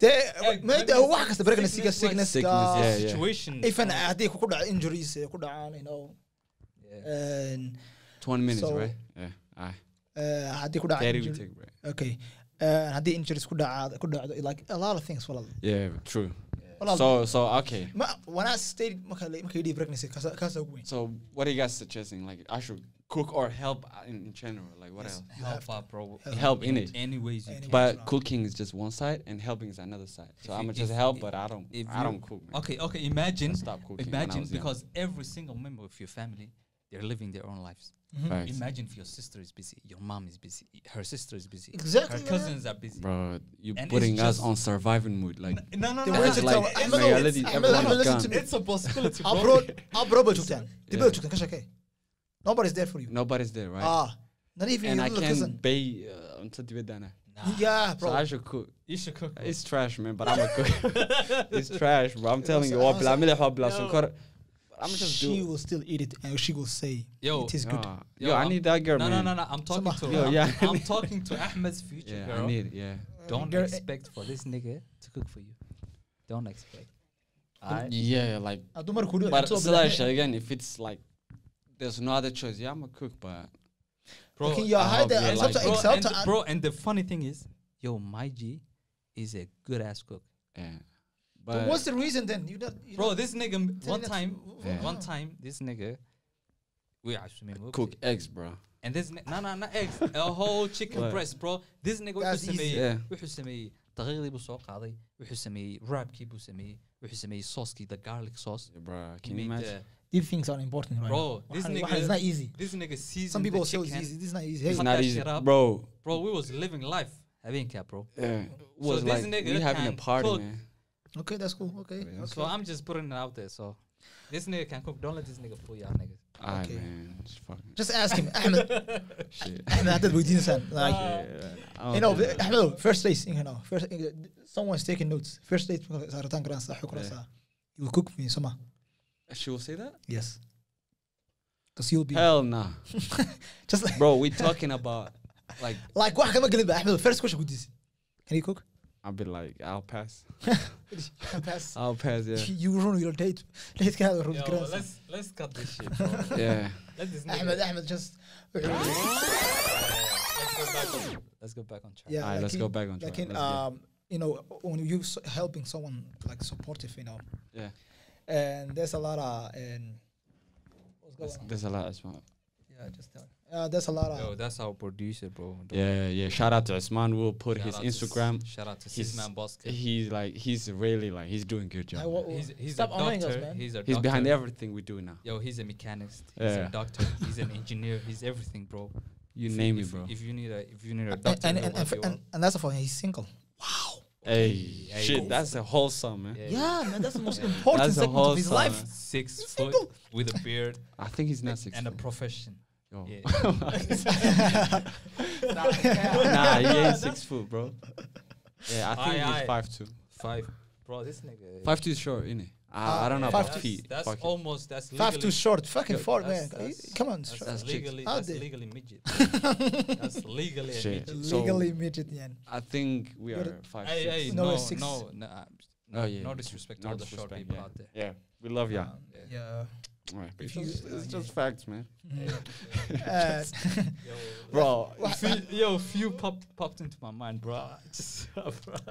A: Dee,
B: Egg,
A: ma- dee,
B: pregnancy,
A: wax kasta pregnancy-ga,
B: sickness,
A: sickness-ga,
C: sickness, yeah, yeah.
B: Situation. Uh,
A: if an
B: bro.
A: haddii ku- ku dhaco injuries ay ku dhacaan, you know,
B: Yeah.
A: and,
C: Twenty minutes,
A: So-
C: right? Yeah. Aye.
A: uh, haddii ku dhaco
C: Thirty we
A: injury-
C: take, bro.
A: okay, uh, haddii injuries ku dhacaa- ku dhacdo, like, a lot of things, walaal.
C: Yeah, true.
A: Walaal,
C: So so okay.
A: ma- when I stayed- marka la- marka la yidhi pregnancy, kaasa- kaasaa ugu weyn.
C: So what are you guys suggesting? Like I should cook or help uh, in, in general? Like what else?
A: You have
B: Help
A: to-
B: out, bro.
A: Help.
C: Help in it.
B: Any ways you
A: Any
B: can.
A: way.
C: But
A: Sure.
C: cooking is just one side, and helping is another side.
B: If
C: So I'm
B: you-
C: gonna just
B: if-
C: help,
B: if-
C: but I don't.
B: if
C: I
B: you-
C: don't cook. Man.
B: Okay, okay. Imagine,
C: Stop cooking. when I
B: imagine,
C: was young.
B: because every single member of your family, they're living their own lives.
A: Mhm.
C: Facts.
B: mm-hmm. Imagine if your sister is busy, your mom is busy, her sister is busy,
A: Exactly,
B: her
A: man.
B: cousins are busy.
C: bro, you
B: And it's
C: putting us
B: just-
C: on surviving mood. Like
B: No, no,
A: The
B: no.
A: way
B: no,
A: to
B: no,
A: tell- I'm
B: it's- it's-
A: not-
B: it's-
C: reality,
A: I'm not-
C: everyone
A: I'm
C: is
A: listening
C: gone.
A: to me.
B: It's a possibility, bro.
A: Abroad- abroad bay joogtaan. Dib bay
C: Yeah.
A: joogtaan, ka shakee. Nobody's there for you.
C: nobody's there, right?
A: Ah, not even
C: and
A: your
C: I
A: little cousin.
C: can't pay uh, until the dinner.
B: Nah,
A: Yeah,
C: So
A: bro.
C: I should cook.
B: you should cook. bro.
C: It's trash, man. But I'm a cook. it's trash, bro. I'm telling you, oh,
A: was- I
C: what
A: was-
C: blah, blah, blah, blah,
B: Yo.
C: sunkar. I'm just
A: she
C: doing.
A: will still eat it and she will say
B: Yo,
A: it is good.
C: Yeah.
B: Yo,
C: Yo, I
B: I'm-
C: need that girl,
B: no,
C: man.
B: no, no, no. I'm talking to.
C: Yo,
B: I'm,
C: yeah.
B: I'm talking to Ahmed's future
C: Yeah,
B: girl.
C: I need. Yeah.
B: Don't
A: Girl, eh.
B: expect for this nigga to cook for you. Don't expect. I
C: Yeah, like.
A: Hadduu markuu dhigo
C: But
A: cunto
C: still,
A: bilaabay-
C: actually, again, if it's like, there's no other choice. Yeah, I'm a cook, but
B: bro.
A: Lakin yaa
C: I
A: hada
C: hope you
B: and,
C: like
A: sababta-
C: it.
B: bro, and,
A: sababta aan-
B: bro, and the funny thing is, yo, my G is a good ass cook.
C: yeah.
A: But
C: But
A: what's the reason then? You not, you
B: Bro,
A: not
B: this nigga m-
A: telling
B: one
A: us-
B: time,
C: Yeah.
B: one time, this nigga, we are assuming we
C: cook eggs, bro.
B: And this ni- no no not eggs a whole chicken
C: What?
B: breast bro this nigga
A: That's
B: wuxuu
A: easy.
B: sameeyey
C: Yeah.
B: wuxuu sameeyey daqiiqdii buu soo qaaday wuxuu sameeyey wrapkii buu sameeyey wuxuu sameeyey saucekii the garlic sauce
C: Yeah, bro,
B: He
C: can you
B: made,
C: imagine?
B: uh,
A: these things are important, right?
B: Bro,
A: now.
B: this
A: Waxa-
B: nigga-
A: waxa- it's not easy.
B: this nigga seasoned
A: Some people
B: the
A: say it's
B: chicken.
A: easy. This is not easy.
B: It's
A: Hey,
C: It's
B: fuck
C: not
B: that
C: easy,
B: shit up.
C: bro.
B: bro we was living life habeenkaa bro
C: Yeah, was
B: this
C: like
B: nigga
C: we having a
B: can
C: party,
B: cook.
C: man.
A: okay, that's cool. Okay,
C: Yeah.
A: okay.
B: so I'm just putting it out there so this nigga can cook don't let this nigga fool y'all niggas
C: Aye,
A: Okay.
C: man, it's fucking
A: Just ask him, Ahmed.
C: shit.
A: Ahmed, haddaad weydiinaysan, like,
C: Yeah, I don't
A: you know,
C: think-
A: Ahmed, first days, you know, first, someone's taking notes. First days, saaritaan karaan sax xukura
C: Yeah.
A: sax. You will cook me, soma.
C: she will say that.
A: Yes. Because you'll be
C: Hell nah,
A: just like,
C: bro. We talking about like
A: like wax kama gelin ba Ahmed. First question guddiis. Can you cook?
C: I'll be like I'll pass.
A: Pass.
C: I'll pass. Yeah,
A: You ruin your date. Datekeeda ruin
B: yo
A: karaysaa.
B: let's let's cut this shit bro
C: yeah.
B: let this nigga
A: Ahmed, Ahmed, just.
B: let's go back on let's go back on track
A: Yeah,
C: All right, let's
A: lakin-
C: go back on track.
A: lakin,
C: Let's go.
A: um, you know, when you s- helping someone like supportive, you know,
C: Yeah,
A: and there's a lot of and what's
C: there's,
A: going on?
C: there's a lot. As well.
A: Yeah, just tell. Uh, there's a lot
B: yo
A: of
B: that's our producer bro Don't
C: Yeah, yeah. Shout out to Osman. We'll put
B: Shout
C: his
B: out to S-
C: Instagram.
B: Shout out to
C: His-
B: Sisman Bosque.
C: He's like he's really like he's doing good job.
A: I wa-
C: man.
B: He's, he's
A: Stop
B: a
A: annoying
B: doctor.
A: us, man.
B: He's a
C: He's
B: doctor.
C: behind everything we do now.
B: Yo, he's a mechanist. He's
C: Yeah.
B: a doctor. he's an engineer. He's everything, bro.
C: You
B: If
C: name it,
B: if-
C: bro.
B: If you need a, if you need a
A: and
B: doctor,
A: and
B: he'll
A: and,
B: help
A: and,
B: you
A: and,
B: out.
A: and that's for he's single. Wow.
C: Hey,
B: Hey,
C: shit,
B: hey.
C: that's a whole song, man.
A: Yeah, man, that's the most important
C: That's a
A: segment of
C: whole
A: his
C: song,
A: life.
C: man.
B: six foot
A: Single.
B: with a beard
C: I think he's not six.
B: and a
C: foot. Oh.
B: profession.
C: Yo.
B: Yeah.
C: nah, he ain't six foot, bro. Yeah, I
B: Aye,
C: think
B: aye.
C: he's five two.
B: Five, bro. This nigga.
C: Five two is short, innit? I,
A: Ah,
C: I don't know
A: five
C: about
B: That's,
C: feet.
B: that's
C: Fuck it.
B: almost that's legally,
A: Five too short, fucking
C: Yo,
A: four, man.
B: that's-
A: Are you-
B: that's-
A: Come on,
B: That's,
A: short.
B: that's
C: that's chicks.
B: legally
A: Out
B: that's
A: there.
B: legally midget. that's legally a
C: Shit.
B: midget.
C: So-
A: legally midget, man.
C: I think we
A: You're
C: are
A: the-
C: five
B: Hey,
C: six.
B: hey,
A: No,
B: no,
A: it's six.
B: no, no, uh, no,
C: Oh, yeah,
B: no
C: yeah.
B: disrespect to
C: No
B: all the short
C: disrespect,
B: people
C: yeah.
B: out there.
C: Yeah, we love ya.
A: Um, yeah.
C: Alright,
A: if
C: it's
A: you-
C: just-
A: uh,
C: it's just facts, man.
A: Uh,
C: Bro,
B: Fe- yo, few pop, popped into my mind, bro. Just, bro.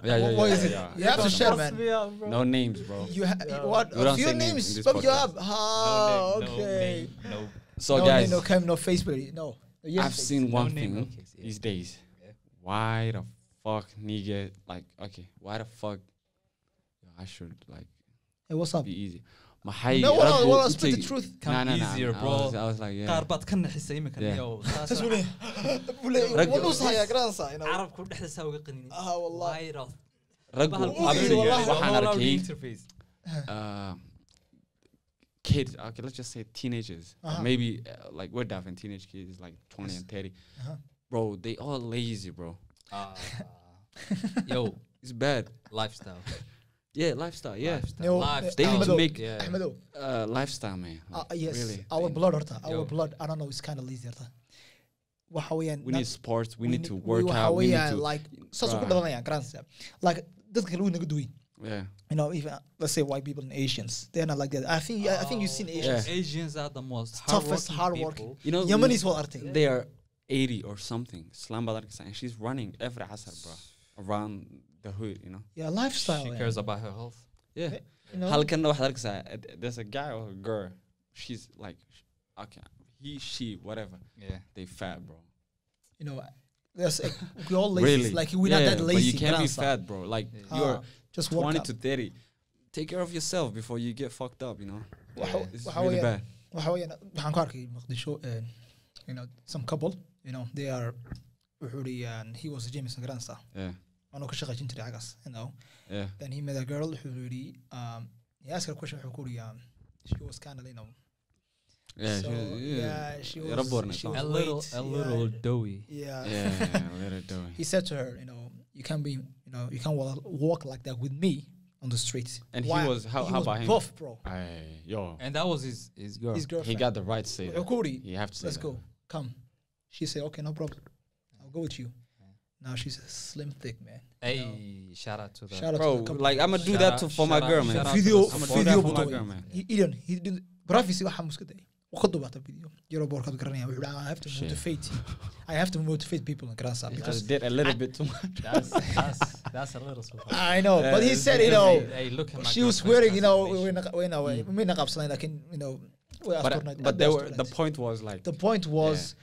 C: yeah,
A: What-
C: yeah,
A: what
C: yeah,
A: is it?
C: yeah.
A: You have to share,
B: Mess
A: man.
B: me up, bro.
C: No names, bro.
A: You ha-
B: Yeah.
A: what?
C: We don't
A: A few
C: say name in
A: names.
C: this
A: Fuck you
C: podcast.
A: up. Ah,
B: name,
A: okay.
B: No, name,
C: So
A: no,
C: guys,
A: name, no cam, no face, buddy. No. Yes,
C: I've
A: face.
C: seen
B: no
C: one
B: name, no
C: thing
B: case, yeah.
C: these days.
B: Yeah.
C: Why the fuck nigga like okay, why the fuck I should like
A: Hey, what's up?
C: be easy. maxay
A: Oh. No, well,
C: rabbu
A: well,
C: u
A: speak the
C: tegi-
A: truth.
B: Come
C: No, no, no,
B: easier,
C: I
B: bro.
C: was- I was like, yeah.
B: qaar baad ka naxisay iminka
C: Yeah.
B: yo,
A: Saas
B: saas
A: buu leeyahay. Buu leeyahay,
C: Rag-
A: waa nus hayaa, garansa, you know.
B: carabku dhexda saa uga qaninay
A: Ah, wallahi.
B: Viral.
C: raggu
B: Bahal-
A: Uu
C: absiga,
A: yidhi, wallahi,
C: waxaan
B: All our
C: arkay
B: interface.
C: uh, kids, okay, let's just say teenagers, or
A: Uh-huh.
C: maybe uh, like we're diving teenage kids, like 20
A: Yes.
C: and 30.
A: Uh-huh.
C: Bro, they all lazy, bro.
B: Ah. yo
C: It's bad.
B: lifestyle
C: Yeah, lifestyle. Yeah,
B: lifestyle,
A: No, eh,
C: They need to
B: lifestyle.
A: Ahmedow,
C: make-
B: Yeah.
A: Ahmedow,
C: uh, lifestyle, man.
A: uh,
C: Like,
A: yes,
C: really.
A: our
C: They-
A: blood horta, our
B: Yo.
A: blood, I don't know, it's kind of lazy horta. Waxa weeyaan,
C: We
A: not-
C: need sports. We need to work
A: waxa
C: out. We need
A: weeyaan,
C: to.
A: uh, like, saas uu ku
C: Bruh.
A: dhalanayaan, garansa. Like, dadka kale way naga duwan.
C: Yeah.
A: You know, even, uh, let's say white people and Asians, they're not like that. I think- I think you've seen
B: Oh,
A: Asians.
B: Asians are the most
A: Toughest,
B: hardworking
A: hardworking.
B: people.
C: You know,
A: Yemenis waa artay.
C: they are 80 or something. Slam Badarkasa, and she's running every asar, bro, around the hood, you know?
A: Yeah, lifestyle,
B: she
A: yeah. Eh,
B: cares about her health
C: Yeah.
A: You know?
C: Halkan waxaad arkaysaa, uh, th- there's a guy or a girl. She's like, sh- okay, he, she, whatever.
B: yeah
C: They fat, bro.
A: you know, there's a, we're all lazy. It's Like we're not that lazy.
C: But you can't be
A: Garansa.
C: fat, bro. Like
B: Yeah.
C: you're
A: Ah, just work
C: 20
A: out.
C: to 30. Take care of yourself before you get fucked up, you know?
A: Waxa-
C: It's
A: waxa
C: really
A: weeyaan-
C: bad.
A: waxa weeyaan, waxaan ku arkay Muqdisho, uh, you know, some couple, you know, they are, wuxuu yidhi, um, he was a Jameson Grandstar.
C: Yeah.
A: Anuu ka shaqaysan jiray cagaas, you know.
C: Yeah.
A: Then he met a girl, wuxuu yidhi, um, he asked her a question, wuxuu ku yidhi, um, she was kind of, you know,
C: Yeah.
A: so, yeah, she was,
C: Yara borna
A: she
C: taa.
A: was
B: a little
A: weight,
B: a
A: yeah,
B: little doughy
A: yeah.
C: Yeah, what are doing?
A: He said to her, you know, you can't be, you know, you can't walk, walk like that with me on the street.
C: And he was- how-
A: he
C: how
A: was
C: about him?
A: buff, bro.
C: Ay, yo.
B: and that was his his girl
A: His
C: He
A: girlfriend.
C: got the right to say that.
A: Okuri,
C: You have to say
A: let's
C: that.
A: go. Come. She said, okay, no problem. I'll go with you. Now she's a slim, thick man.
B: hey shout out to the
A: Shout out to
C: Bro,
A: the couple.
C: like I'ma do
B: Shout
C: that
B: out-
C: to for
B: shout
C: my
B: out-
C: girl,
B: shout
C: man.
B: out
A: Video-
B: to the
A: video
B: support.
A: video
B: for my
A: photo.
B: girl, man.
A: He- Ilan, he didn't. Brafisi waxaa maskaxda ay. Wuu ka duubatay video. Yaro boorkaad garanaya. Wuxuu dhahay, I have to
C: Shit.
A: motivate. I have to motivate people in Gransa
C: I
A: because
C: just did a little bit too much.
B: that's that's that's a little support.
A: I know. But he
C: Yeah,
A: said,
C: it's
A: you know,
B: Hey, hey, look at my
A: she was
B: girlfriend's Mm.
A: wearing, uh, you know,
B: transformation.
A: we na qabsanayn lakin, you know, we
B: uh,
C: But, but they were the point was like
A: The point was,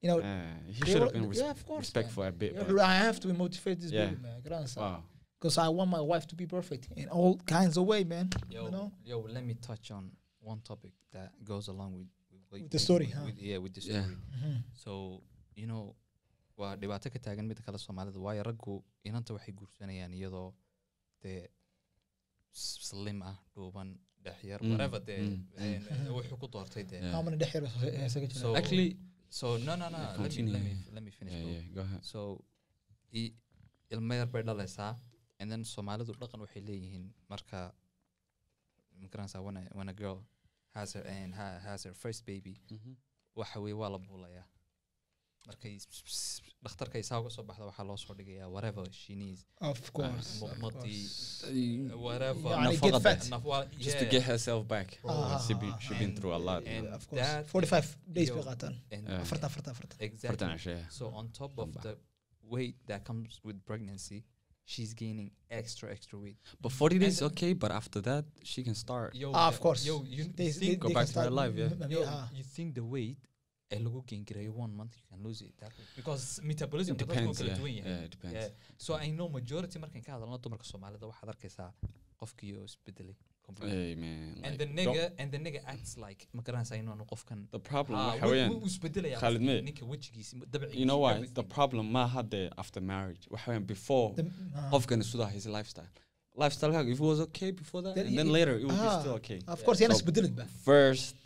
A: you know,
C: uh, he
A: they
C: should
A: were-
C: have been res-
A: yeah, of course,
C: respectful a bit.
A: wuxuu
C: but-
A: dhahay, I have to motivate this
C: Yeah.
A: baby man, Gransa.
C: Wow.
A: because I want my wife to be perfect in all kinds of way, man. You
B: yo,
A: know,
B: yo, let me touch on one topic that goes along with with,
A: With the story,
B: with-
A: huh? Mm-hmm.
B: with- yeah, with the story.
C: Yeah.
B: So you know, waa dhibaato ka taagan midda kale Soomaalida waayo raggu inanta waxay guursanayaan iyadoo dee s- slim ah, dhuuban, dhex yar,
C: Mm,
B: whatever dee
C: mm,
B: eh,
A: mm.
B: eh, wuxuu ku doortay dee.
C: Yeah.
A: how many days has it- has it got you
B: So
A: now?
C: Actually,
B: so no no no, let me
C: Continue,
B: let me
C: yeah.
B: let me finish.
C: yeah,
B: bro.
C: yeah, go ahead.
B: so i- ilmo yar bay dhalaysaa and then soomaalidu dhaqan waxay leeyihiin marka magaranaysaa when a- when a girl has her, and ha, has her first baby
A: Mm-hmm.
B: waxa weye waa la buulayaa markay s- s- s- dhakhtarkay saa uga soo baxda waxaa loo soo dhigayaa whatever she needs
A: of course, of
B: muqmadii
A: course.
B: whatever
A: Mm. Yeah, and they get fat.
B: naf- waa-
C: uh, Just to
B: yeah.
C: get herself back.
B: Bro,
A: Ah,
C: Oh, she been, she been
B: and-
C: through a lot.
B: and-
A: of course.
B: that-
A: 45 days
B: Yo.
A: bay qaataan.
B: And-
C: Yeah.
A: Afartan, afartan, afartan.
B: exactly
C: yeah.
B: So on top of
C: Number.
B: the weight that comes with pregnancy, she's gaining extra extra weight.
C: But 40 days,
B: And-
C: okay, but after that, she can start.
B: Yo,
A: Ah,
B: the-
A: of course.
B: Yo, you
A: They-
B: think,
A: they-
C: go
A: they
C: back
A: can
C: to my
A: start
C: life, yeah.
A: m- m-
B: yo,
A: ah.
B: you think the weight eh, lagu gain karayo one month you can lose it that way. because metabolism
C: It
B: dadku
C: depends.
B: kala
C: Yeah,
B: duwan
C: yeah,
B: yahay.
C: it depends.
B: Yeah. So I know majority markan ka hadalno dumarka Soomaalida waxaad arkaysaa qofkii oo isbedelay completely.
C: Hey, man.
B: and
C: Eh, like,
B: the
C: don't-
B: nigga and the nigga acts like ma garanaysaa inuu qofkan
C: The problem,
B: Ah,
C: waxa
B: wuu-
C: weeyaan,
B: wuu isbedelayaa
C: Khalid
B: qofkii,
C: May.
B: ninka wejigiisa dabcigiisa,
C: you know why? The
B: everything.
C: problem, ma hadde after marriage. waxa weeyaan, Before,
A: The- ah.
C: qofkan suda his lifestyle. Lifestyle, hag, if it was okay before that,
A: Then
C: and then
A: it-
C: later it would be
A: ah,
C: still okay.
A: of course, yana
C: So-
A: isbedelin ba.
C: First,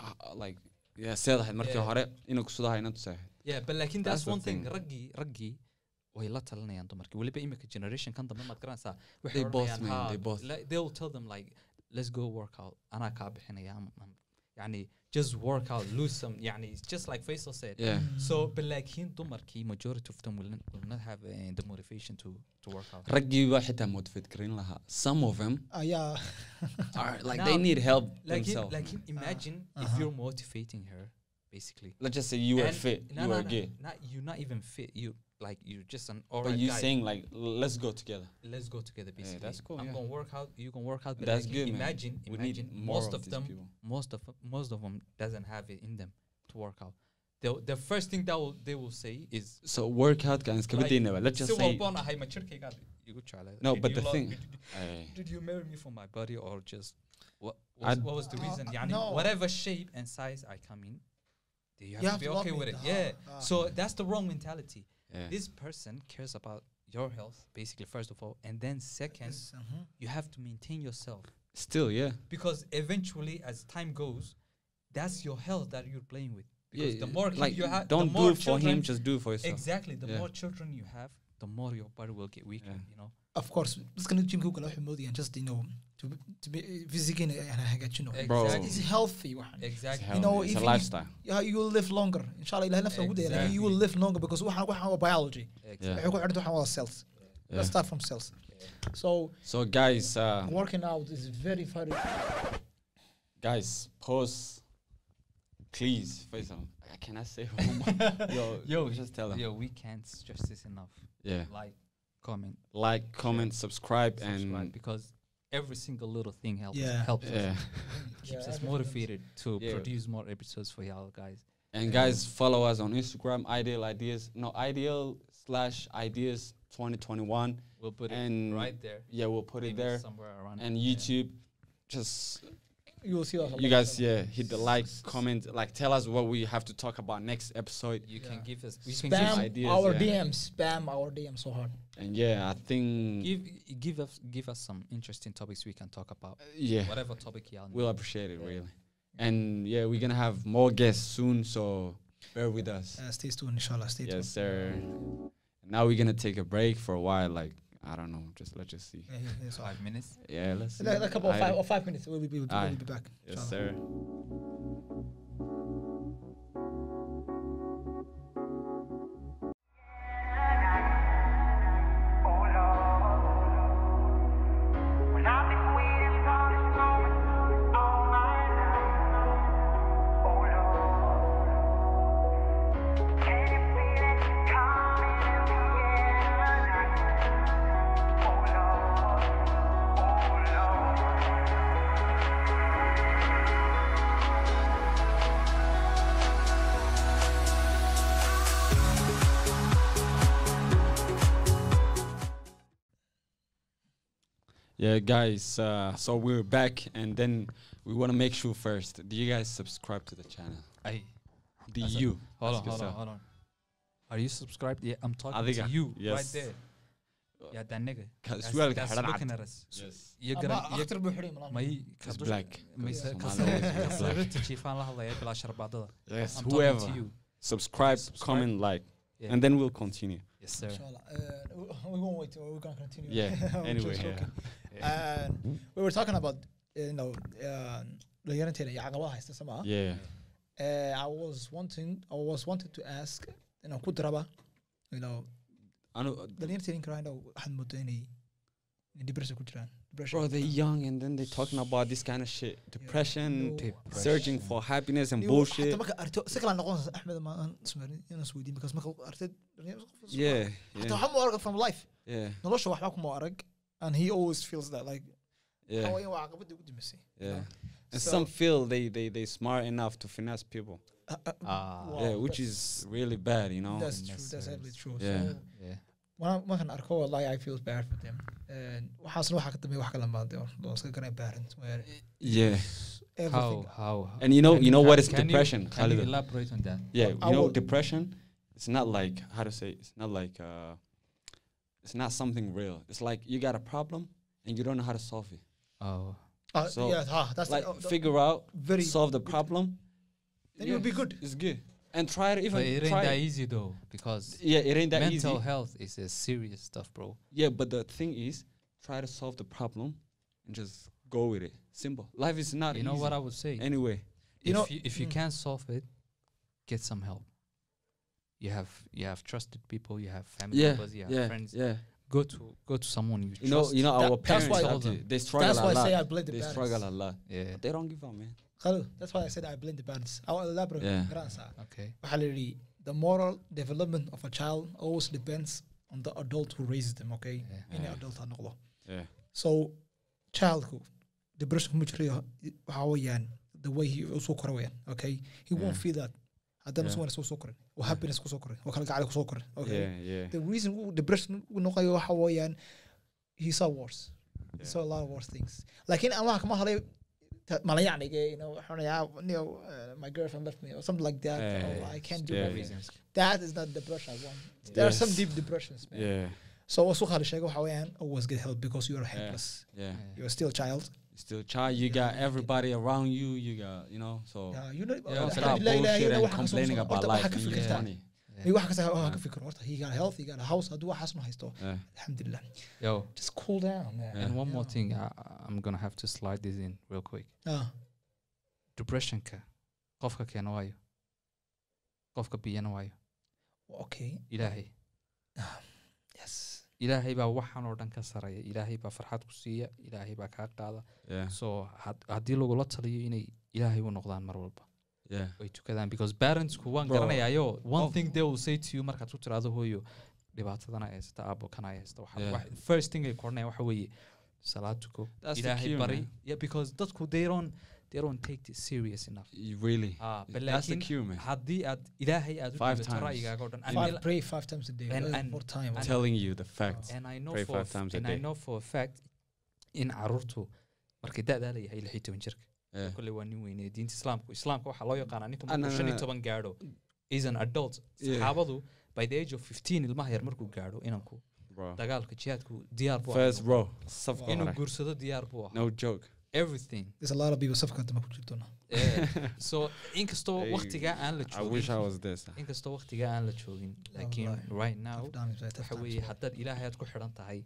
C: uh, like, yeah, seedahay markii
B: Yeah.
C: hore inuu kusudahay inaad tusahay.
B: yeah but lakin that's
C: That's the
B: one thing
C: thing.
B: raggii raggii way la talinayaan dumarkii weliba iminka generation kan dambe maad garanaysaa waxay
C: They both,
B: odhanayaan,
C: man,
B: "Ha,
C: they both."
B: le- they will tell them like let's go work out anaa kaa bixinaya am- am- yani just work out lose some yani it's just like Faisal said
C: Yeah.
B: so but lakin dumarkii majority of them will not, will not have uh, the motivation to to work out
C: raggii baa xitaa motivate karin lahaa some of them
A: Ayaa-
C: are like
B: No.
C: they need help
B: lakin
C: themselves
B: lakin
C: man.
B: imagine if
A: Uh-huh.
B: you're motivating her basically
C: let's just say you are
B: And-
C: fit
B: no,
C: you
B: no,
C: are
B: no,
C: gay
B: not you're not even fit you like you're just an alright
C: but you
B: guy
C: saying like "L- let's go together
B: let's go together basically.
C: that's cool,
B: I'm
C: yeah.
B: gonna work out. You can work out. But
C: That's
B: like,
C: good, man.
B: Imagine,
C: we
B: imagine
C: need more
B: most
C: of,
B: of,
C: these
B: them,
C: people
B: most of most of them doesn't have it in them to work out. The the first thing that will, they will say is
C: so workout guys
B: Like,
C: like, uh, let's just
B: "Si
C: say
B: walbana ahay ma jirkaygaad igu jeclahay.
C: no
B: Did
C: but
B: you
C: the
B: love-
C: thing
B: did, did you marry me for my body or just What was,
C: I'd-
B: what was the
A: Uh,
B: reason?
A: uh,
B: يعني
A: no.
B: whatever shape and size I come in, you have,
A: You
B: to
A: have
B: be
A: to love
B: okay
A: me,
B: with it.
A: uh,
B: Yeah.
A: uh.
B: So that's the wrong mentality.
C: Yeah.
B: This person cares about your health, basically, first of all. And then, second,
A: Yes, mhm.
B: you have to maintain yourself
C: Still, yeah.
B: because eventually, as time goes, that's your health that you're playing with. Because
C: yeah,
B: the more kid
C: like,
B: you have,
C: don't
B: the more
C: do it for
B: children-
C: him, just do it for yourself.
B: Exactly. The
C: Yeah.
B: more children you have, the more your body will get weaker.
C: Yeah.
B: You know.
A: of course dadkan jimka kala wuxuu moodayaan just you know to be- to be physically eh, aan hagaajino
C: Bro.
A: It's- it's healthy waxaan
B: Exactly.
C: Hell,
A: You know,
C: it's a
A: even if-
C: lifestyle.
A: Yeah, you will live longer inshallah ilahay nafta ugu daya
B: Exactly.
A: you will live longer because waxaan waxaan waa biology
B: Exactly.
A: waxay ku xidhanta waxaan waa cells
C: Yeah.
A: let's start from cells so
C: So guys, uh,
A: working out is very very
C: guys, pause, please. Faisal, I cannot say. one more. Yo,
B: Yo,
C: just tell them.
B: Yo, we can't stress this enough.
C: Yeah,
B: Like, comment,
C: like, comment, subscribe,
B: subscribe,
C: and
B: because every single little thing helps.
A: Yeah.
B: Helps. us.
C: yeah.
B: Keeps
A: Yeah,
B: us
A: everything.
B: motivated to
C: Yeah.
B: produce more episodes for y'all guys.
C: And guys, follow us on Instagram, Ideal Ideas. No, Ideal slash Ideas 2021.
B: We'll put it
C: And
B: right there.
C: Yeah, we'll put it
B: maybe
C: there.
B: somewhere around.
C: And
B: there.
C: YouTube, just
A: you will see us a
C: you
A: lot.
C: guys, yeah, hit the like, comment, like, tell us what we have to talk about next episode.
B: You
A: Yeah.
B: can give us. You can give,
A: spam
B: us-
C: ideas,
A: our
C: yeah.
A: DMs spam our DMs so hard
C: And yeah, I think
B: give give us give us some interesting topics we can talk about.
A: Uh,
C: yeah,
B: Whatever topic y'all need.
C: we'll appreciate it really. And yeah, we're gonna have more guests soon, so bear with us.
A: uh, stay tuned inshallah stay tuned
C: Yes, sir. Now we're gonna take a break for a while. Like I don't know, just let's just see.
A: Yeah, yeah, yeah, so hard.
B: Five minutes.
C: Yeah, let's. see.
A: Like a couple of
C: I-
A: five, or five minutes we'll be, we'll be,
C: Aye.
A: we'll be back
C: Yes,
A: inshallah.
C: sir.
D: Oh Lord, when I've been waiting for this moment all my life. Oh Lord, can you feel it coming in the air? Oh Lord, oh Lord.
C: Yeah, guys. Uh, so we're back, and then we want to make sure first. Do you guys subscribe to the channel?
B: Aye.
C: Do
B: That's it.
C: you?
B: Hold on, hold
C: Ask
B: on,
C: yourself.
B: hold on. Are you subscribed? Yeah, I'm talking
C: think
B: to
C: I-
B: you right
C: yes.
B: there. Yeah, that nigga.
C: Ka-
B: That's,
C: su'aalka
B: that's
C: xidhan
B: looking
C: cad.
B: at us.
C: Yes.
B: You're
A: Ama
B: gonna. You're
A: akhtar buu xidhan malaha.
B: may
C: It's black.
B: may
A: Yeah.
B: ka-
C: Somali always
B: ka-
C: use black.
B: sawirta jiifaan la hadlaya bilaash arbacdada.
C: Yes.
B: I'm
C: Whoever
B: talking to you.
C: subscribe,
B: Subscribe.
C: comment, like,
B: Yeah.
C: and then we'll continue.
B: Yes, sir.
A: Inshallah. Uh, we won't wait. We're gonna continue.
C: Yeah.
A: We're
C: anyway.
A: just
C: yeah.
A: joking. Uh, we were talking about uh, you know um, dhalinyaranteenna iyo caqabadaha haysta somaa
C: Yeah.
A: Uh, I was wanting I was wanted to ask inaan ku daraba you know
C: I know. uh,
A: dhalinyarteen ninka right now waxaad moodaa inay inay depression ku jiraan depression
C: Bro, they're young, and then they're talking about this kind of shit, depression,
A: No.
C: searching for happiness and
A: Iyo
C: bullshit.
A: Xataa marka arto si kala noqon Axmed ma aan ismaarin inaan isweydiin because marka artid
C: Yeah.
A: Xataa
C: Yeah.
A: waxaa mu arag from life
C: Yeah.
A: nolosha waxbaa kuma arag and he always feels that like waxa
C: Yeah.
A: weeyaan waa caqabadii ugu dambeysay you
C: Yeah.
A: know?
C: And
A: So-
C: some feel they they they smart enough to finesse people.
A: Uh, uh,
B: Ah,
A: Wow.
C: yeah, which
A: that's-
C: is really bad, you know.
A: that's
B: in
A: true.
B: that
A: That's heavily
B: sense.
A: true.
C: Oh, Yeah.
A: So
B: yeah.
A: when I- markaan arko wallahi I feel bad for them. And waxaasna waxaa ka dambeeya wax kala maadee oo iska garanay parents where
C: Yeah.
B: How,
A: everything.
B: how?
C: And you know,
B: can
C: you know what
B: can-
C: is
B: can you-
C: depression,
B: Can you
C: Khalid?
B: elaborate on that?
C: Yeah,
A: I
C: you know,
A: would-
C: depression. It's not like how to say. It's not like. Uh, it's not something real. It's like you got a problem and you don't know how to solve it.
B: Oh,
A: Uh,
C: So,
A: yeah, ha, that's
C: like
A: the- oh, the-
C: figure out,
A: very
C: solve the problem.
A: Then you'll be good.
C: It's good. And try it even.
B: but it ain't
C: try
B: that
C: it.
B: easy though, because
C: Yeah, it ain't that
B: mental
C: easy.
B: health is a serious stuff, bro.
C: Yeah, but the thing is, try to solve the problem and just go with it. Simple. Life is not.
B: You know what I
C: easy
B: would say?
C: Anyway.
A: You
B: if
A: know-
B: you, if you
A: Mm.
B: can't solve it, get some help. You have you have trusted people, you have family
C: Yeah.
B: members, you have
C: Yeah.
B: friends.
C: Yeah.
B: Go to go to someone you,
C: You know.
B: trust.
C: You know
A: That-
C: our
A: that's
C: parents.
A: why-
C: have to- they struggle
A: that's
C: a
A: why I
C: lot.
A: say I blame the
C: they
A: parents.
C: struggle a lot.
B: yeah.
C: But they don't give up, man.
A: Khalil, that's why I said I blame the parents. I'll elaborate.
C: Yeah.
A: Garansa.
B: Okay.
A: Waxaa la yidhi, The moral development of a child always depends on the adult who raises them, okay?
B: Yeah.
A: Inay
C: Yeah.
A: adult ha noqdo.
C: Yeah.
A: So childku depression kuma jirayo waxaa weeyaan the way he u soo koray weeyaan okay he won't
C: Yeah.
A: feel that haddana
C: Yeah.
A: yeah. soo soo korin oo happiness kusoo korin oo kala gacayl kusoo korin okay
C: Yeah. Yeah.
A: the reason uu depression u noqayo waxa weeyaan he saw worse he
C: Yeah.
A: saw a lot of worse things laakiin aan waxa kama hadlay that malayaniga you know waxaanayaa, you know, uh, my girlfriend left me or something like that
C: Yeah,
A: oh, I can't do
C: yeah.
A: that that is not depression I want there are
C: Yes.
A: some deep depressions man
C: yeah
A: so wasu waxa la sheego waxa weeyaan always get help because you are helpless
C: yeah
A: you are still a child
C: still child you got everybody around you you got you know so
A: Yeah, Uh, you know
B: Yeah,
C: Oh. it's a
B: Alhamdulillah,
C: lot of
A: alhamdulillah, ilaahay
C: bullshit
A: ilaahay
C: and
A: waxaa ka soo
C: complaining
A: socda,
C: about
A: horta waxaa
C: life
A: ka
C: and you
A: fikirtaa.
C: get money
A: Maybe waxaa ka soo- waxaa ka fikir, horta, he got health he got a house hadduu waxaas ma haysto
C: yeah
A: alhamdulillah
B: Yo,
A: just cool down man
B: and one more
A: Yeah.
B: thing, I, I'm gonna have to slide this in real quick.
A: Ah,
B: Depressionka, qofka keena waayo, qofka biyana waayo,
A: okay
B: ilaahay.
A: yes
B: ilaahay baa waxaan oo dhan ka saraya ilaahay baa farxad ku siiya ilaahay baa kaa qaada
C: yeah
B: so had- haddii lagula taliyo inay ilaahay u noqdaan mar walba
C: yeah
B: oy tukadaan because parentsku waan
C: Bro.
B: garanayayo one
C: Oh.
B: thing they will say to you markaad ku tiraado hooyo dhibaatadana haysata aabo kana haysta waxa-
C: Yeah.
B: wax- first thing ay koranayaan waxa weeye salaad tuko
C: That's the
B: ilaahay
C: key,
B: bari
C: man.
B: yeah because dadku they don't they don't take it serious enough
C: You really
B: ah but
C: that's the
B: laakiin
C: cue man
B: haddii aad ilaahay aad u
C: Five
B: dhibato
C: times.
B: ra'yigaaga oo dhan And
A: five,
B: mil-
A: pray five times a day
B: And-
A: and,
B: and-
A: more time
B: and-
C: telling you the facts
B: and I know
C: Pray
B: for a
C: five
B: f-
C: times a
B: and I
C: day.
B: know for a fact in caruurtu markay da-daa la yahay lixii toban jirka
C: yeah
B: kole waa nin weyne diinta islaamku islaamka waxaa loo yaqaanaa ninka
C: Ah, no,
B: markuu
C: no,
B: shan iyo
C: no.
B: toban gaadho is an adult
C: Yeah.
B: saxaabadu by the age of fifteen ilmaha yar markuu gaadho inanku
C: bro
B: dagaalka jihaadku diyaar buu ahaa
C: first
B: inuu-
C: row saf
A: Wow.
B: inuu
C: inuu
B: guursado diyaar buu ahaa
C: no joke
B: everything
A: there's a lot of people safka dama ku jirto na
B: Eh, so inkastoo
C: Hey,
B: waktigaa aan la
C: I wish I
B: joogin
C: was this
B: inkastoo waktigaa aan la joogin laakiin
A: Wallahi.
B: right now
A: Tough times, right, tough
B: waxa weeye
A: times.
B: haddaad ilaahay aad ku xidhan tahay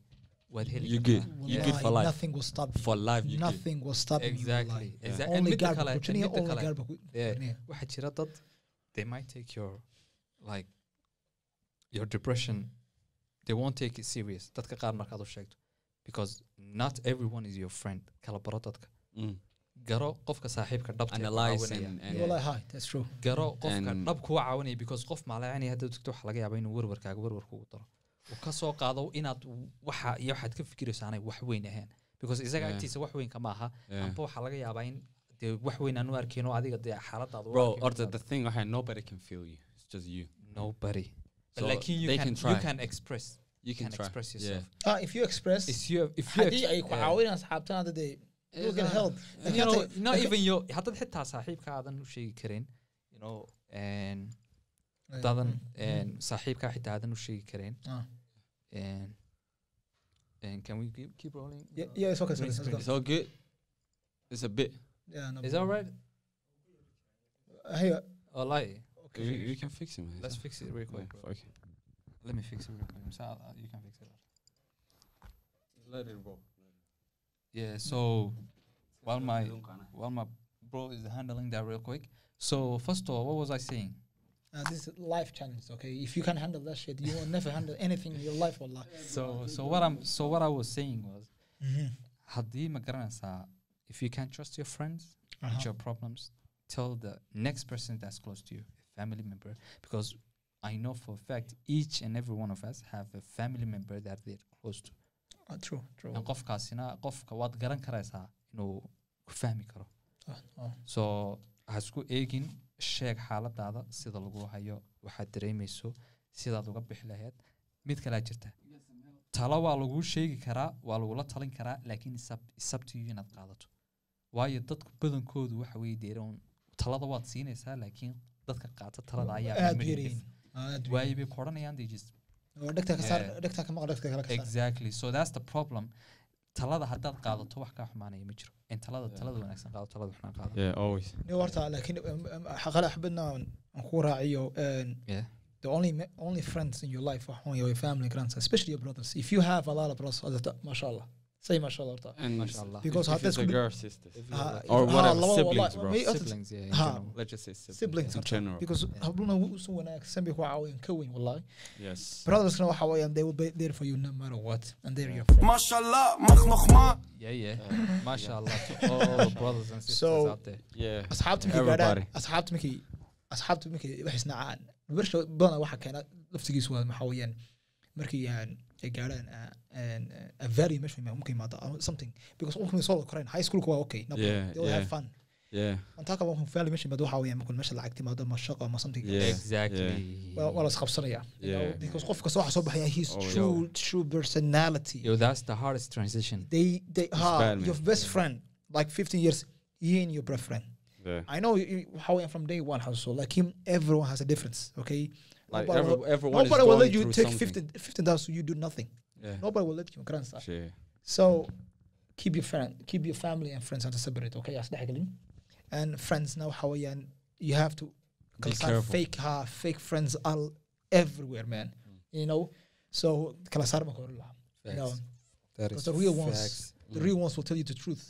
B: waad heli
C: You
B: kartaa.
C: good. You
B: Yeah.
C: good
A: Wallahi,
C: for life.
A: nothing will stop you
C: for life you get
A: nothing will stop you
B: exactly
A: wallahi.
B: exactly and
A: only
B: midda
A: God
B: kale
A: will
B: and
A: continue
B: midda
A: only
B: kale
A: God will
B: Yeah.
A: continue
B: waxaa jira dad they might take your like your depression they won't take it serious dadka qaar markaad u sheegto because not everyone is your friend kala baro dadka
C: Mm.
B: garo qofka saaxiibka dhabta ee ku
C: analyze
B: caawinaya.
C: and,
A: Yeah.
C: and
A: wallahi hi that's true
B: garo qofka
C: And-
B: dhab kuwa caawinaya because qof maaleecanaya hadda tagto waxa laga yaaba inuu warwarkaaga warwar kugu daro uu ka soo qaado inaad waxa iyo waxaad ka fikirayso aanay wax weyn ahayn because isaga
C: Yeah.
B: agtiisa wax weyn kama aha
C: yeah.
B: amba waxaa laga yaabaa in dee wax weyn aanu arkayn oo adiga dee xaaladaadu
C: bro or the, the thing okay, nobody can feel you it's just you
B: Mm. nobody but
C: So
B: like you
C: they
B: can,
C: can try.
B: you can express
C: you can,
B: can
C: try
B: express
C: Yeah.
B: yourself.
A: ah if you express
B: It's you if you
A: haddii ay ku
B: yeah. uh,
A: caawinaan asxaabtan hadda dee you can help
B: And you know not even your haddaad xitaa saaxiibka aadan u sheegi karin you know and
A: Mm.
B: dadan and saaxiibka xitaa aadan u sheegi karin
A: Ah.
B: and and can we keep, keep rolling
A: yeah yeah it's okay it's okay, let's
B: Green
A: go
C: it's all good it's a bit
A: yeah no Uh,
B: is that all right
A: hey
B: or like
C: we, we can fix it man It's
B: let's
C: all-
B: fix it real quick
C: yeah,
B: bro.
C: fuck it.
B: let me fix it real quick so I'll- you can fix it yeah so while my while my bro is handling that real quick so first of all what was I saying
A: uh, this is life challenge okay if you can handle that shit you will never handle anything in your life wallahi
B: so so what I'm so what I was saying was
A: Mm-hmm.
B: haddii ma garanaysaa if you can't trust your friends
A: Uh-huh.
B: with your problems tell the next person that's close to you a family member because I know for a fact each and every one of us have a family member that they're close to
A: Ah, true true
B: and qofkaasina qofka waad garan karaysaa inuu ku fahmi karo
A: Ah, ah.
B: so ha isku eegin sheeg xaaladaada sida lagu hayo waxaad dareemayso sidaad uga bixi lahayd mid kalea jirta talo waa laguu sheegi karaa waa lagula talin karaa laakiin it's up- it's up to you inaad qaadato waayo dadku badankoodu waxa weye deeroon talada waad siinaysaa laakiin dadka qaata talada ayaa
A: aad
B: memory
A: buu
B: left.
A: aad buu
B: waayo bay koranayaan they just
A: oo dhegta ka saar
B: Yeah.
A: dhegta ka maqal dhegta kale ka saar
B: exactly so that's the problem talada haddaad qaadato wax kaa xumaanaya ma jiro in talada
C: Yeah.
B: talada wanaagsan qaado talada xunaa qaado
C: yeah always
A: Ni horta laakiin um, um, xaqale axbadna aan ku raaciyo um,
B: Yeah.
A: the only ma- only friends in your life are your family grands especially your brothers if you have a lot of brothers hadda mashallah say mashallah horta
C: and
B: Mashallah.
A: Because
C: because if
A: hatta
C: it's a
A: isku-
C: girl sisters
B: Ah,
A: Ha-
C: or
A: ha,
C: whatever
A: laba
C: siblings
A: walaal-
C: bro
A: may- horta
B: siblings yeah in
A: Ha.
B: general.
C: let's just say siblings,
A: siblings
C: in
A: horta
C: general
A: because
B: Yeah.
A: habluna wuu usu wanaagsan bay ku caawin ka weyn wallahi
C: yes
A: brothersna waxa weeyaan they will be there for you no matter what and they're your
E: ما
A: friends
E: شاء الله مخ مخ ما
B: Yeah, yeah. Mashallah to all the brothers and sisters
A: So-
B: out there.
C: yeah
A: asxaabta markay gaadhaan
C: Everybody.
A: asxaabta markay asxaabta markay wax isnacaan wirsha badan waxa keena laftigiisu waa maxaa weeyaan markii aan ay gaadhaan ah, an- ah, a very measure mumkin maada or something because ultimately soo korayn high schoolku waa okay no problem.
C: Yeah,
A: they will have
C: yeah.
A: fun
C: yeah
A: on top of that valley mission waxa weeyaan markuu meesha lacagti maada ma shaqo ama something
C: Yeah.
B: Exactly.
A: waa waa la isqabsanaya you know,
C: Yeah.
A: because qofka soo waxa soo baxaya his
C: Oh, yeah.
A: true true personality
B: Yo, that's the hardest transition.
A: they they ha
C: bad, man.
A: your best friend like 15 years yihiin your best friend
C: yeah.
A: i know you- you- waxa weeyaan from day one xasuuso lakin everyone has a difference okay
C: Like
A: Nobody
C: every,
A: will-
C: everyone is
A: nobody
C: going
A: will let you
C: through
A: take
C: something.
A: 15 15000 so you do nothing
C: Yeah.
A: nobody will let you grant stuff
C: Shit.
A: So keep your friend, keep your family and friends under separate, okay? Yes, And friends now how and you have to
C: Be
A: 'cause I
C: careful.
A: fake ha fake friends are everywhere, man. You know? So kala saar ma korin laha. you know,
B: Facts. That
A: because
B: is
A: the real
B: facts.
A: ones the real ones will tell you the truth.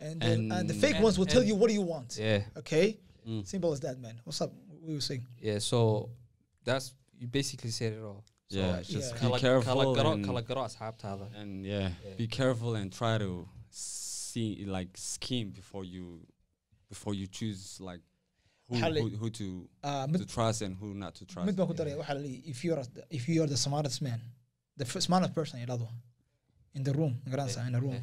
A: And the, and, the
C: And-
A: fake ones will
B: and-
A: tell you what you want.
B: Yeah.
A: Okay?
C: Mm.
A: Simple as that, man. What's up? We were saying.
B: Yeah, so that's you basically said it all. So
C: Yeah,
B: like,
A: just
B: yeah.
A: be
B: Kala-
C: careful
B: kala garo-
C: and-
B: kala garo asxaabtaada.
C: And yeah,
B: Yeah.
C: be careful and try to see like scheme before you before you choose like who
A: Waxaa la-
C: who, who to,
A: Uh,
C: to trust and who not to trust.
A: mid baan ku daraya waxaa la leeyahy, if you are if you are the smartest man the f- smartest person yidhahdo in the room garanaysa in a room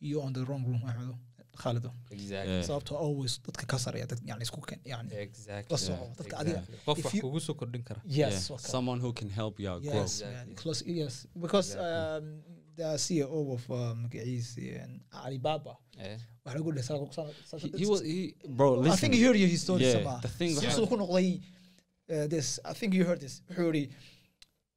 B: Yeah.
A: you on the wrong room axmedo khaalido
B: Exactly.
C: Yeah.
A: sababto always dadka ka saraya dad yani isku keen yani
B: Exactly.
A: la soco dadka adiga
B: Exactly. Qof
A: If
B: wax
A: you-
B: kugu soo kordhin kara.
A: yes waa kan.
C: someone who can help you out grow.
A: yes
B: grow.
A: man,
B: Exactly.
A: close yes because
B: Yeah.
A: um, the CEO of uh, magaciisi and Alibaba
B: Yeah.
A: waxa lagu dhahay sala- sala-
C: He,
A: sala-
C: he was he bro. Oh, Listen,
A: I think you heard your story
C: yeah,
A: Sabah.
C: the thing
A: Since uu
C: happened-
A: ku noqday, uh, this I think you heard this wuxuu yiri,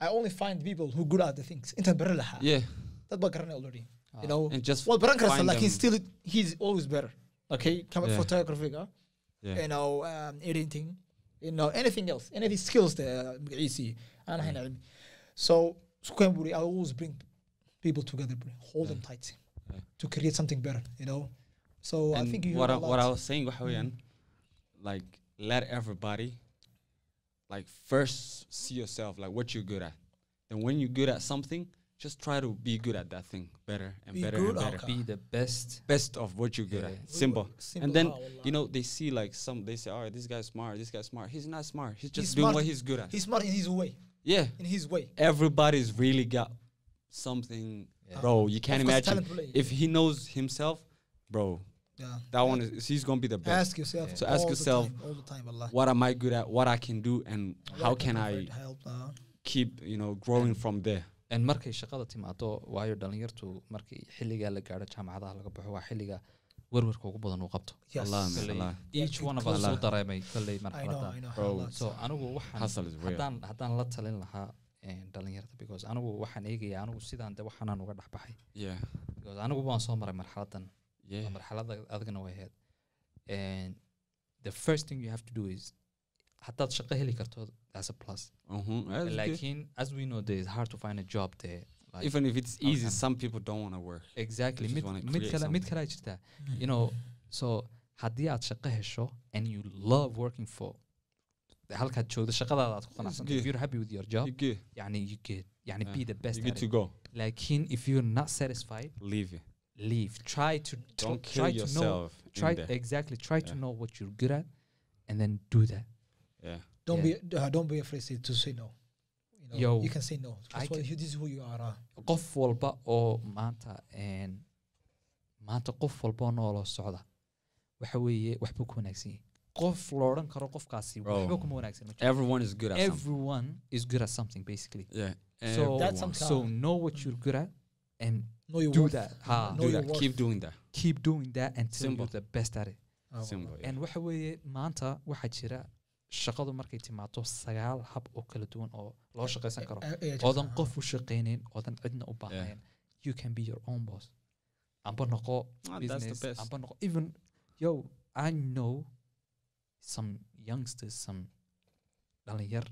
A: I only find people who good at the things intaan bari lahaa
C: yeah,
A: dad baa garanaya already you
B: Ah.
A: know
C: and just
A: well baran karaysa
C: find
A: lakin
C: them.
A: still he's always better okay camera
C: Yeah.
A: photography
C: Yeah.
A: you know um, editing you know anything else any of these skills that magaciisii aan
C: Mm.
A: ahayn cilmi so sukeen buri I always bring people together buri hold them tight
C: Yeah.
A: to create something better you know so I
C: and
A: think you
C: what
A: heard
C: I,
A: a
C: what
A: lot
C: I
A: Mm-hmm.
C: was saying Wahawian, like let everybody like first see yourself like what you're good at. And when you're good at something, just try to be good at that thing better and
A: Be
C: better
A: good
C: and
A: at
C: better.
A: it.
B: Be the best.
C: Best of what you're good
B: Yeah.
C: at. Simple.
A: Simple,
C: And then
A: ah, wallah.
C: you know they see like some they say, all right, this guy's smart, this guy's smart. He's not smart. He's just
A: He's
C: doing
A: smart.
C: what he's good at.
A: he's smart in his way
C: yeah.
A: in his way
C: Everybody's really got something
B: Yeah.
C: bro. You can't
A: Of course,
C: imagine
A: talent play.
C: if he knows himself, bro,
A: yeah
C: that one is he's gonna be the best.
A: ask yourself
C: So ask
A: all the
C: yourself,
A: time, all the time Allah
C: what am I good at, what I can do, and how
A: Like
C: can I
A: provide help uh,
C: keep you know growing from there.
B: And markay shaqada timaado waayo dhalinyartu markii xilligaa la gaaro jaamacadaha laga baxo waa xilliga werwerka ugu badan uu qabto.
A: yes
C: Allah, man,
B: Koley,
C: Allah.
B: Each one of us
C: Allah.
B: soo dareemay koley
A: I know I
B: marxaladaan.
A: know
C: Bro,
A: Allah,
B: So
A: it's-
B: anigu waxaan
C: Hustle is real.
B: haddaan haddaan la talin lahaa eh, dhalinyarada because anigu waxaan eegaya anigu sidaan de waxaanaan uga dhex baxay.
C: Yeah,
B: Because anigu waan soo maray marxaladan
C: yeah,
B: Waa marxaladda adigana way ahayd. And the first thing you have to do is haddaad shaqo heli karto that's a plus.
C: uh-huh. That's good.
B: Laakiin as we know there is hard to find a job there. Like,
C: Even if it's easy,
B: Okay.
C: some people don't want to work.
B: exactly
C: You just
B: mid
C: wanna
B: mid
C: create
B: kale mid
C: something.
B: kale ay jirtaa you know so haddii aad shaqo hesho and you love working for halkaad joogdo shaqadaada aad ku qanacsan if
C: good.
B: you're happy with your
C: You
B: job
C: good?
B: yani you get yani
C: Yeah.
B: be the best
C: You
B: at
C: good to
B: it.
C: go?
B: laakiin if you're not satisfied
C: Leave it.
B: leave try to
C: Don't
B: tr-
C: kill
B: try to know
C: yourself. in
B: try
C: there.
B: exactly try to
C: Yeah.
B: know what you're good at and then do that
C: Yeah,
A: don't
B: Yeah.
A: be uh, don't be afraid say- to say no you, know,
B: Yo,
A: you can say no
B: I
A: That's why
B: can-
A: you- this is who you are uh,
B: qof walba oo maanta een, maanta qof walba oo nooloo socda waxa weeye waxbuu ka wanaagsan yahay qof la odhan karo qofkaasi
C: Bro.
B: waxba kuma wanaagsan ma jiro.
C: everyone is good at Oh. something.
B: everyone is good at something basically
C: Yeah,
B: so
A: That's some
B: so
A: kind.
B: know what you're good at and
A: know your
B: do
A: worth.
B: that ha
A: know
C: do
A: your
C: that.
A: worth.
C: Keep doing that.
B: keep doing that until
C: Simple.
B: you're the best at it
A: Ah, wallah.
C: Simple. yeah.
B: and waxa weeye maanta waxaa jira shaqadu markay timaado sagaal hab oo kala duwan oo loo shaqaysan karo
A: Eh, eh, eh,
B: oodan
A: ah,
B: qof u shaqaynayn oodan cidna u baahnayn you can be your own boss amba noqo
C: Ah, that's the
B: business
C: best.
B: amba noqo even yo i know some youngsters some dhalinyar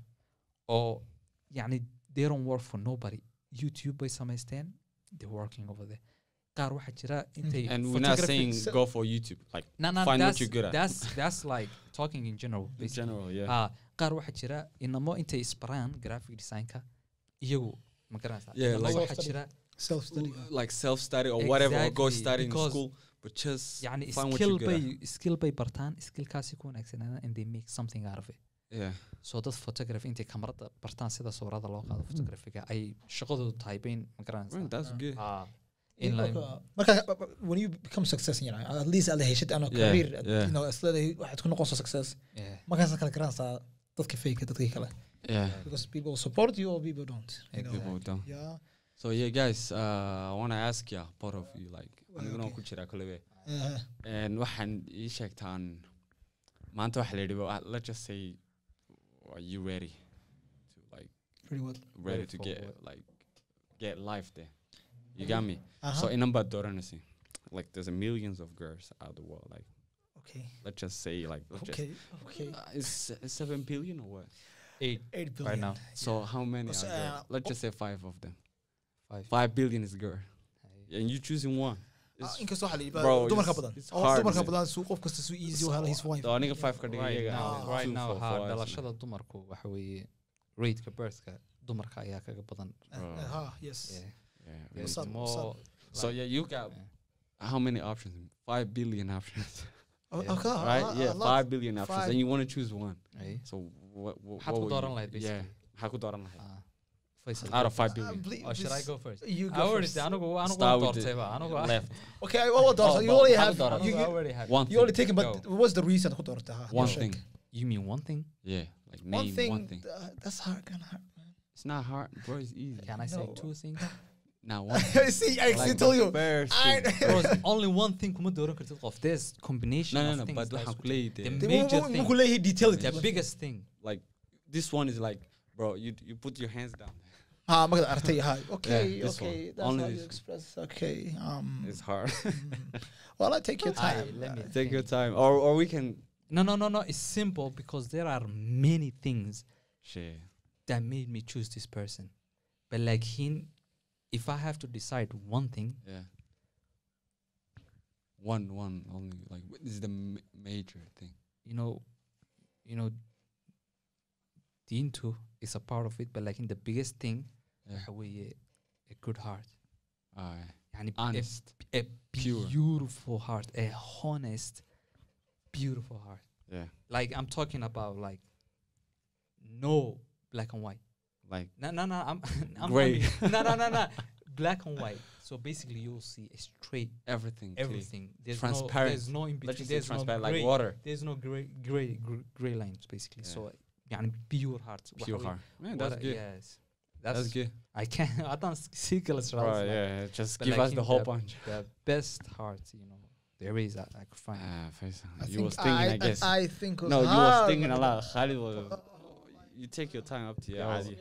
B: oo yani they don't work for nobody youtube bay samaysteen they're working over there qaar waxaa jira intay
C: Mm-hmm. And we're not
B: photography-
C: saying
A: So-
C: go for YouTube, like
B: no, no,
C: find what
B: that's-
C: you're good at.
B: that's that's like talking in general
C: in
B: basically.
C: general. Yeah,
B: ah qaar waxaa jira inamo intay isbaraan graphic designka iyagu ma garanaysa
C: Yeah,
B: inamo
A: like-
B: waxaa jira
A: self study
C: L- like self study or whatever, or go
B: Exactly,
C: study in
B: because-
C: school, but just
B: yani
C: find what you're
B: skill
C: good at.
B: bay skill bay bartaan skillkaasi ku wanaagsanaadan and they make something out of it
C: Yeah,
B: so dad photography intay kamarada bartaan sida sawirada loo
A: Mm-hmm.
B: qaado photographiga ay shaqadoodu tahay bayn ma
C: Well,
B: garanaysa
C: that's
A: Ah.
C: good.
B: ah in line
A: marka marka, uh, when you become success you know, at least aad heshid ano
C: Yeah,
A: career uh,
C: yeah.
A: you know isla waxaad ku noqonaysaa success
B: yeah
A: markaasad kala garanaysaa dadka fake dadkii kale
C: Yeah,
A: because people support you or people don't you know
C: people don't.
A: yeah
C: So yeah, guys, uh, I want to ask you, both of you, like,
A: Okay.
C: I'm gonna kuchira kulewe.
A: Aha.
C: And waxaan ii sheegtaan maanta waxa la yidhi wa- let's just say are you ready to like
A: Pretty well.
C: ready,
B: Ready
C: to
B: for
C: get
B: what?
C: like get life there you got me
A: Aha.
C: so inan baad dooranaysa like there's a millions of girls out the world like
A: Okay.
C: let's just say like let's just
A: Okay. Okay.
C: Uh, it's uh, seven billion or what?
B: Eight,
A: Eight
B: right
A: billion.
B: now.
C: So how many?
A: So,
C: are there?
A: uh,
C: Let's just say five of them.
B: Five.
C: Five billion is girl,
B: Hey.
C: and you choosing one.
A: Ah, inkastoo waxaa la yidhi,
C: Bro,
A: dumarka
C: it's-
A: badan
C: it's
A: oo
C: hard,
A: dumarka
C: isn't it?
A: badan suu qof kasta suu easy u helo his wife
C: So aniga five ka dhiga
B: right
C: iyaga
B: now,
C: ah,
B: right
C: two
B: now
C: for
B: ha
C: four,
B: dhalashada dumarku waxa weeye raidka birthka dumarka ayaa kaga badan
A: Ah,
C: Bro.
A: ah, yes
B: Yeah.
C: Yeah,
B: There's
A: What's up, what's
B: more
C: So
B: like-
C: yeah, you got
B: Yeah.
C: how many options? Five billion options,
A: Oh,
B: Yeah.
A: okay, ah, ah,
C: right? Yeah,
A: ah, lot.
C: five billion options,
A: Five.
C: and you want to choose one.
B: Hey.
C: So what? what,
B: Maxaad
C: what
B: ku
C: would
B: dooran
C: you-
B: lahayd
C: Yeah,
B: basically?
C: maxaad ku dooran lahayd?
B: Ah, Faisal,
C: Out
B: go
C: of five
A: Ah,
C: billion.
A: please,
B: first. or Oh, should I
A: please,
B: go first
A: you
B: I
A: go
B: already
A: first.
B: anigu anigu
C: Start
B: waan
C: with the
B: doortayba anigu ah.
C: left.
A: okay I will
B: Oh,
A: doorta you
B: but
A: only
B: maxaad
A: have
B: ku dooran?
A: you,
B: Anigu
A: you,
B: I already have.
C: One
A: you only
C: thing.
A: taken but
B: Go.
A: what's the reason ku doorta ha
C: One
A: Check.
C: thing.
B: You mean one thing?
C: Yeah, like
A: one
C: name
A: thing
C: one thing.
A: uh, that's hard kind of hard
C: It's not hard, bro. It's easy.
B: Can I say
A: No.
B: two things?
C: Now one.
A: man. see I actually told you I-
B: Because only one thing kuma dooran kartid qof. There's combination
C: No,
B: of
C: no, no.
B: things
C: But
B: that
C: waxaan
B: is-
C: ku leeyahay
B: The
C: dee,
A: They-
B: major
A: mu- mu-
B: thing.
A: ku leeyahay detail
B: The
A: it.
B: biggest thing.
C: like this one is like, bro, you you put your hands down.
A: ah magad artay ha okay
C: Yeah, this
A: okay
C: one.
A: that's
C: Only
A: how
C: this
A: you
C: one.
A: express okay um
C: It's hard.
A: well I take
C: Ah,
A: your
B: Aye,
A: time
B: let me
C: Take your
B: think.
C: time, or or we can
B: No, no, no, no. It's simple because there are many things
C: share.
B: that made me choose this person. But like him, if I have to decide one thing,
C: Yeah. One one only like wh- this is the ma- major thing.
B: you know, you know, the into is a part of it. But like in the biggest thing,
C: Yeah.
B: how we, a good heart.
C: Alright.
B: يعني a-
C: Honest.
B: a,
C: Pure.
B: beautiful heart, a honest, beautiful heart.
C: Yeah.
B: Like I'm talking about like no black and white.
C: Like
B: No, no, no. I'm, I'm
C: Grey.
B: I mean, No, no, no, no. Black and white. So basically, you'll see a straight
C: everything. clear.
B: everything. There's No,
C: Transparent.
B: there's no in
C: Let's
B: between.
C: just say
B: There's no
C: transparent,
B: gray.
C: like water.
B: There's no gray, gray, gr- gray lines basically.
C: Yeah.
B: So يعني pure heart.
C: Pure
B: وحوي-
C: heart.
B: what
C: Man, that's
B: a-
C: good.
B: Yes. That's,
C: That's, good.
B: I can't. I don't see colors.
C: Right, yeah, yeah, Just
B: but
C: give
B: like
C: us the
B: in
C: whole
B: the-
C: bunch.
B: The best heart, you know, there is. uh, I, I could find.
C: Ah, Faisal,
A: I
C: you
A: think
C: was thinking, I, guess.
A: I, I think
C: no, you was
A: hard.
C: thinking a lot. Khalid was. You take your time up to your
B: Yeah.
C: eyes.
B: I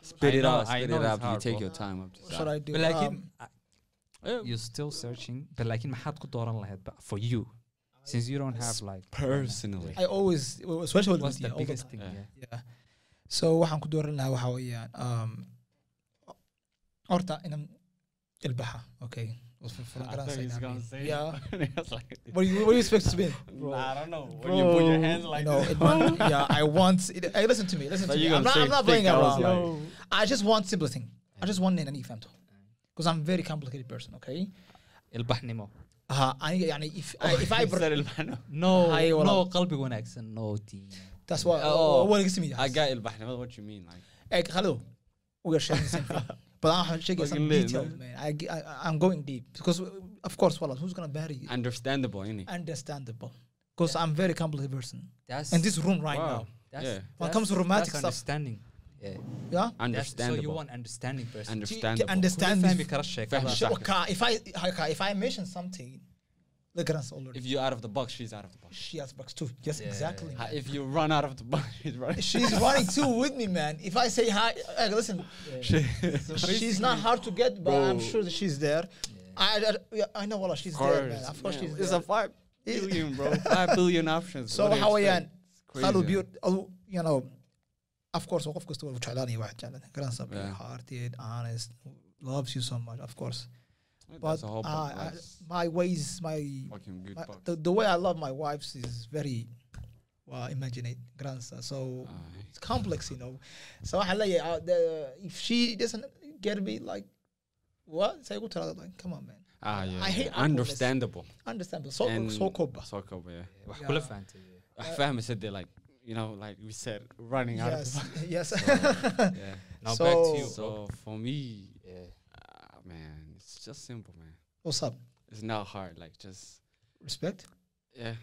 C: Spit it
B: know-
C: out.
B: I
C: Spit
B: know
C: it
B: it's
C: out. You
B: hard,
C: take
B: bro.
C: your time up to
A: What
C: your
A: should
C: side.
A: I do
B: But like
A: um,
B: in- I- you're still searching. But like in محد كدوران لهاد. But for you, since you don't have like
C: Personally.
A: I always especially with
B: what's
A: media
B: the
A: all the
B: biggest
A: time.
B: thing?
C: Yeah.
B: Yeah.
A: Yeah. so waxaan ku dooran lahaa waxa weeyaan um, horta inaan ilbaxa okay was fur- furan
C: I thought he was
A: garanaysaa
C: gonna
A: inaan-
C: say
A: yeah
C: it. I was like,
A: what do you what do you expect to be
C: Nah, I don't know. When you put your hands like
A: no
C: this.
A: it won't- yeah I want it, hey, listen to me listen
C: But
A: to
C: you
A: me I'm not
C: gonna say
A: I'm not
C: thick,
A: playing
C: I was
A: around
C: like-
A: I just want simplicity I just want in an ifamto because I'm a very complicated person okay
B: البحر نمو.
A: aha aniga yani if I, if I
C: Said البحر.
B: No,
A: Hi, wala.
B: no قلبي wanaagsan. No دين.
A: that's what
C: Oh.
A: waliga sameeya
C: I got البحر. What you mean? Like,
A: Egg, hello. We are sharing the same thing. But I'm shaking some
C: Fucking lit,
A: detail,
C: man.
A: man. I, ge- I, I'm going deep. Because, uh, of course, Wallace, who's going to bury you?
C: understandable, innit?
A: Understandable. Because I'm very complicated person.
B: That's
A: In this room right
C: Wow.
A: now.
B: That's,
C: Yeah.
A: When it comes to romantic
B: that's
A: stuff.
B: understanding. Yeah.
A: Yeah?
B: That's, so you
C: Understandable.
B: want understanding person.
A: To- to
C: Understandable.
A: understand
B: Understand
A: this- Shit,
C: Exactly.
A: okay, if I okay, if I mention something, the grand's already.
C: If you're out of the box, she's out of the box.
A: she has bucks too. Yes,
B: Yeah.
A: exactly.
C: Ha-
A: man.
C: If you run out of the box, she's running.
A: She's running too with me, man. If I say hi, Egg, listen, she's not hard to get, but I'm
C: Bro.
A: sure that she's there. I, I, I know, Wallace, she's there, man. Of course, she's
C: It's
A: there.
C: a five billion, bro. Five billion options.
A: So
C: What do you
A: Hawaiian,
C: expect? It's crazy,
A: خلو
C: man.
A: بيوت أو oh, you know of course وقف كستو وجعلاني واحد جعلاني كلام صبي
C: Yeah.
A: hearted honest loves you so much of course
C: That's
A: but
C: a whole
A: uh,
C: box.
A: I-
C: That's
A: my ways my,
C: fucking good
A: my
C: box.
A: the, the way I love my wives is very well imaginate grandson so
C: Aye.
A: it's complex you know so I like uh, the, if she doesn't get me like what say tell her like come on man
C: Ah, yeah.
A: I hate
C: yeah.
A: awkwardness.
C: understandable.
A: understandable so so cool
C: So cool, yeah.
B: wax kula fahamtay.
C: I family said they like, you know, like we said, running out of the
A: yes
C: box.
A: yes
C: Yeah.
B: Now back to you.
C: So for me,
B: Yeah.
C: ah, man, it's just simple, man.
A: what's up
C: It's not hard. Like just,
A: respect Ah,
C: yeah,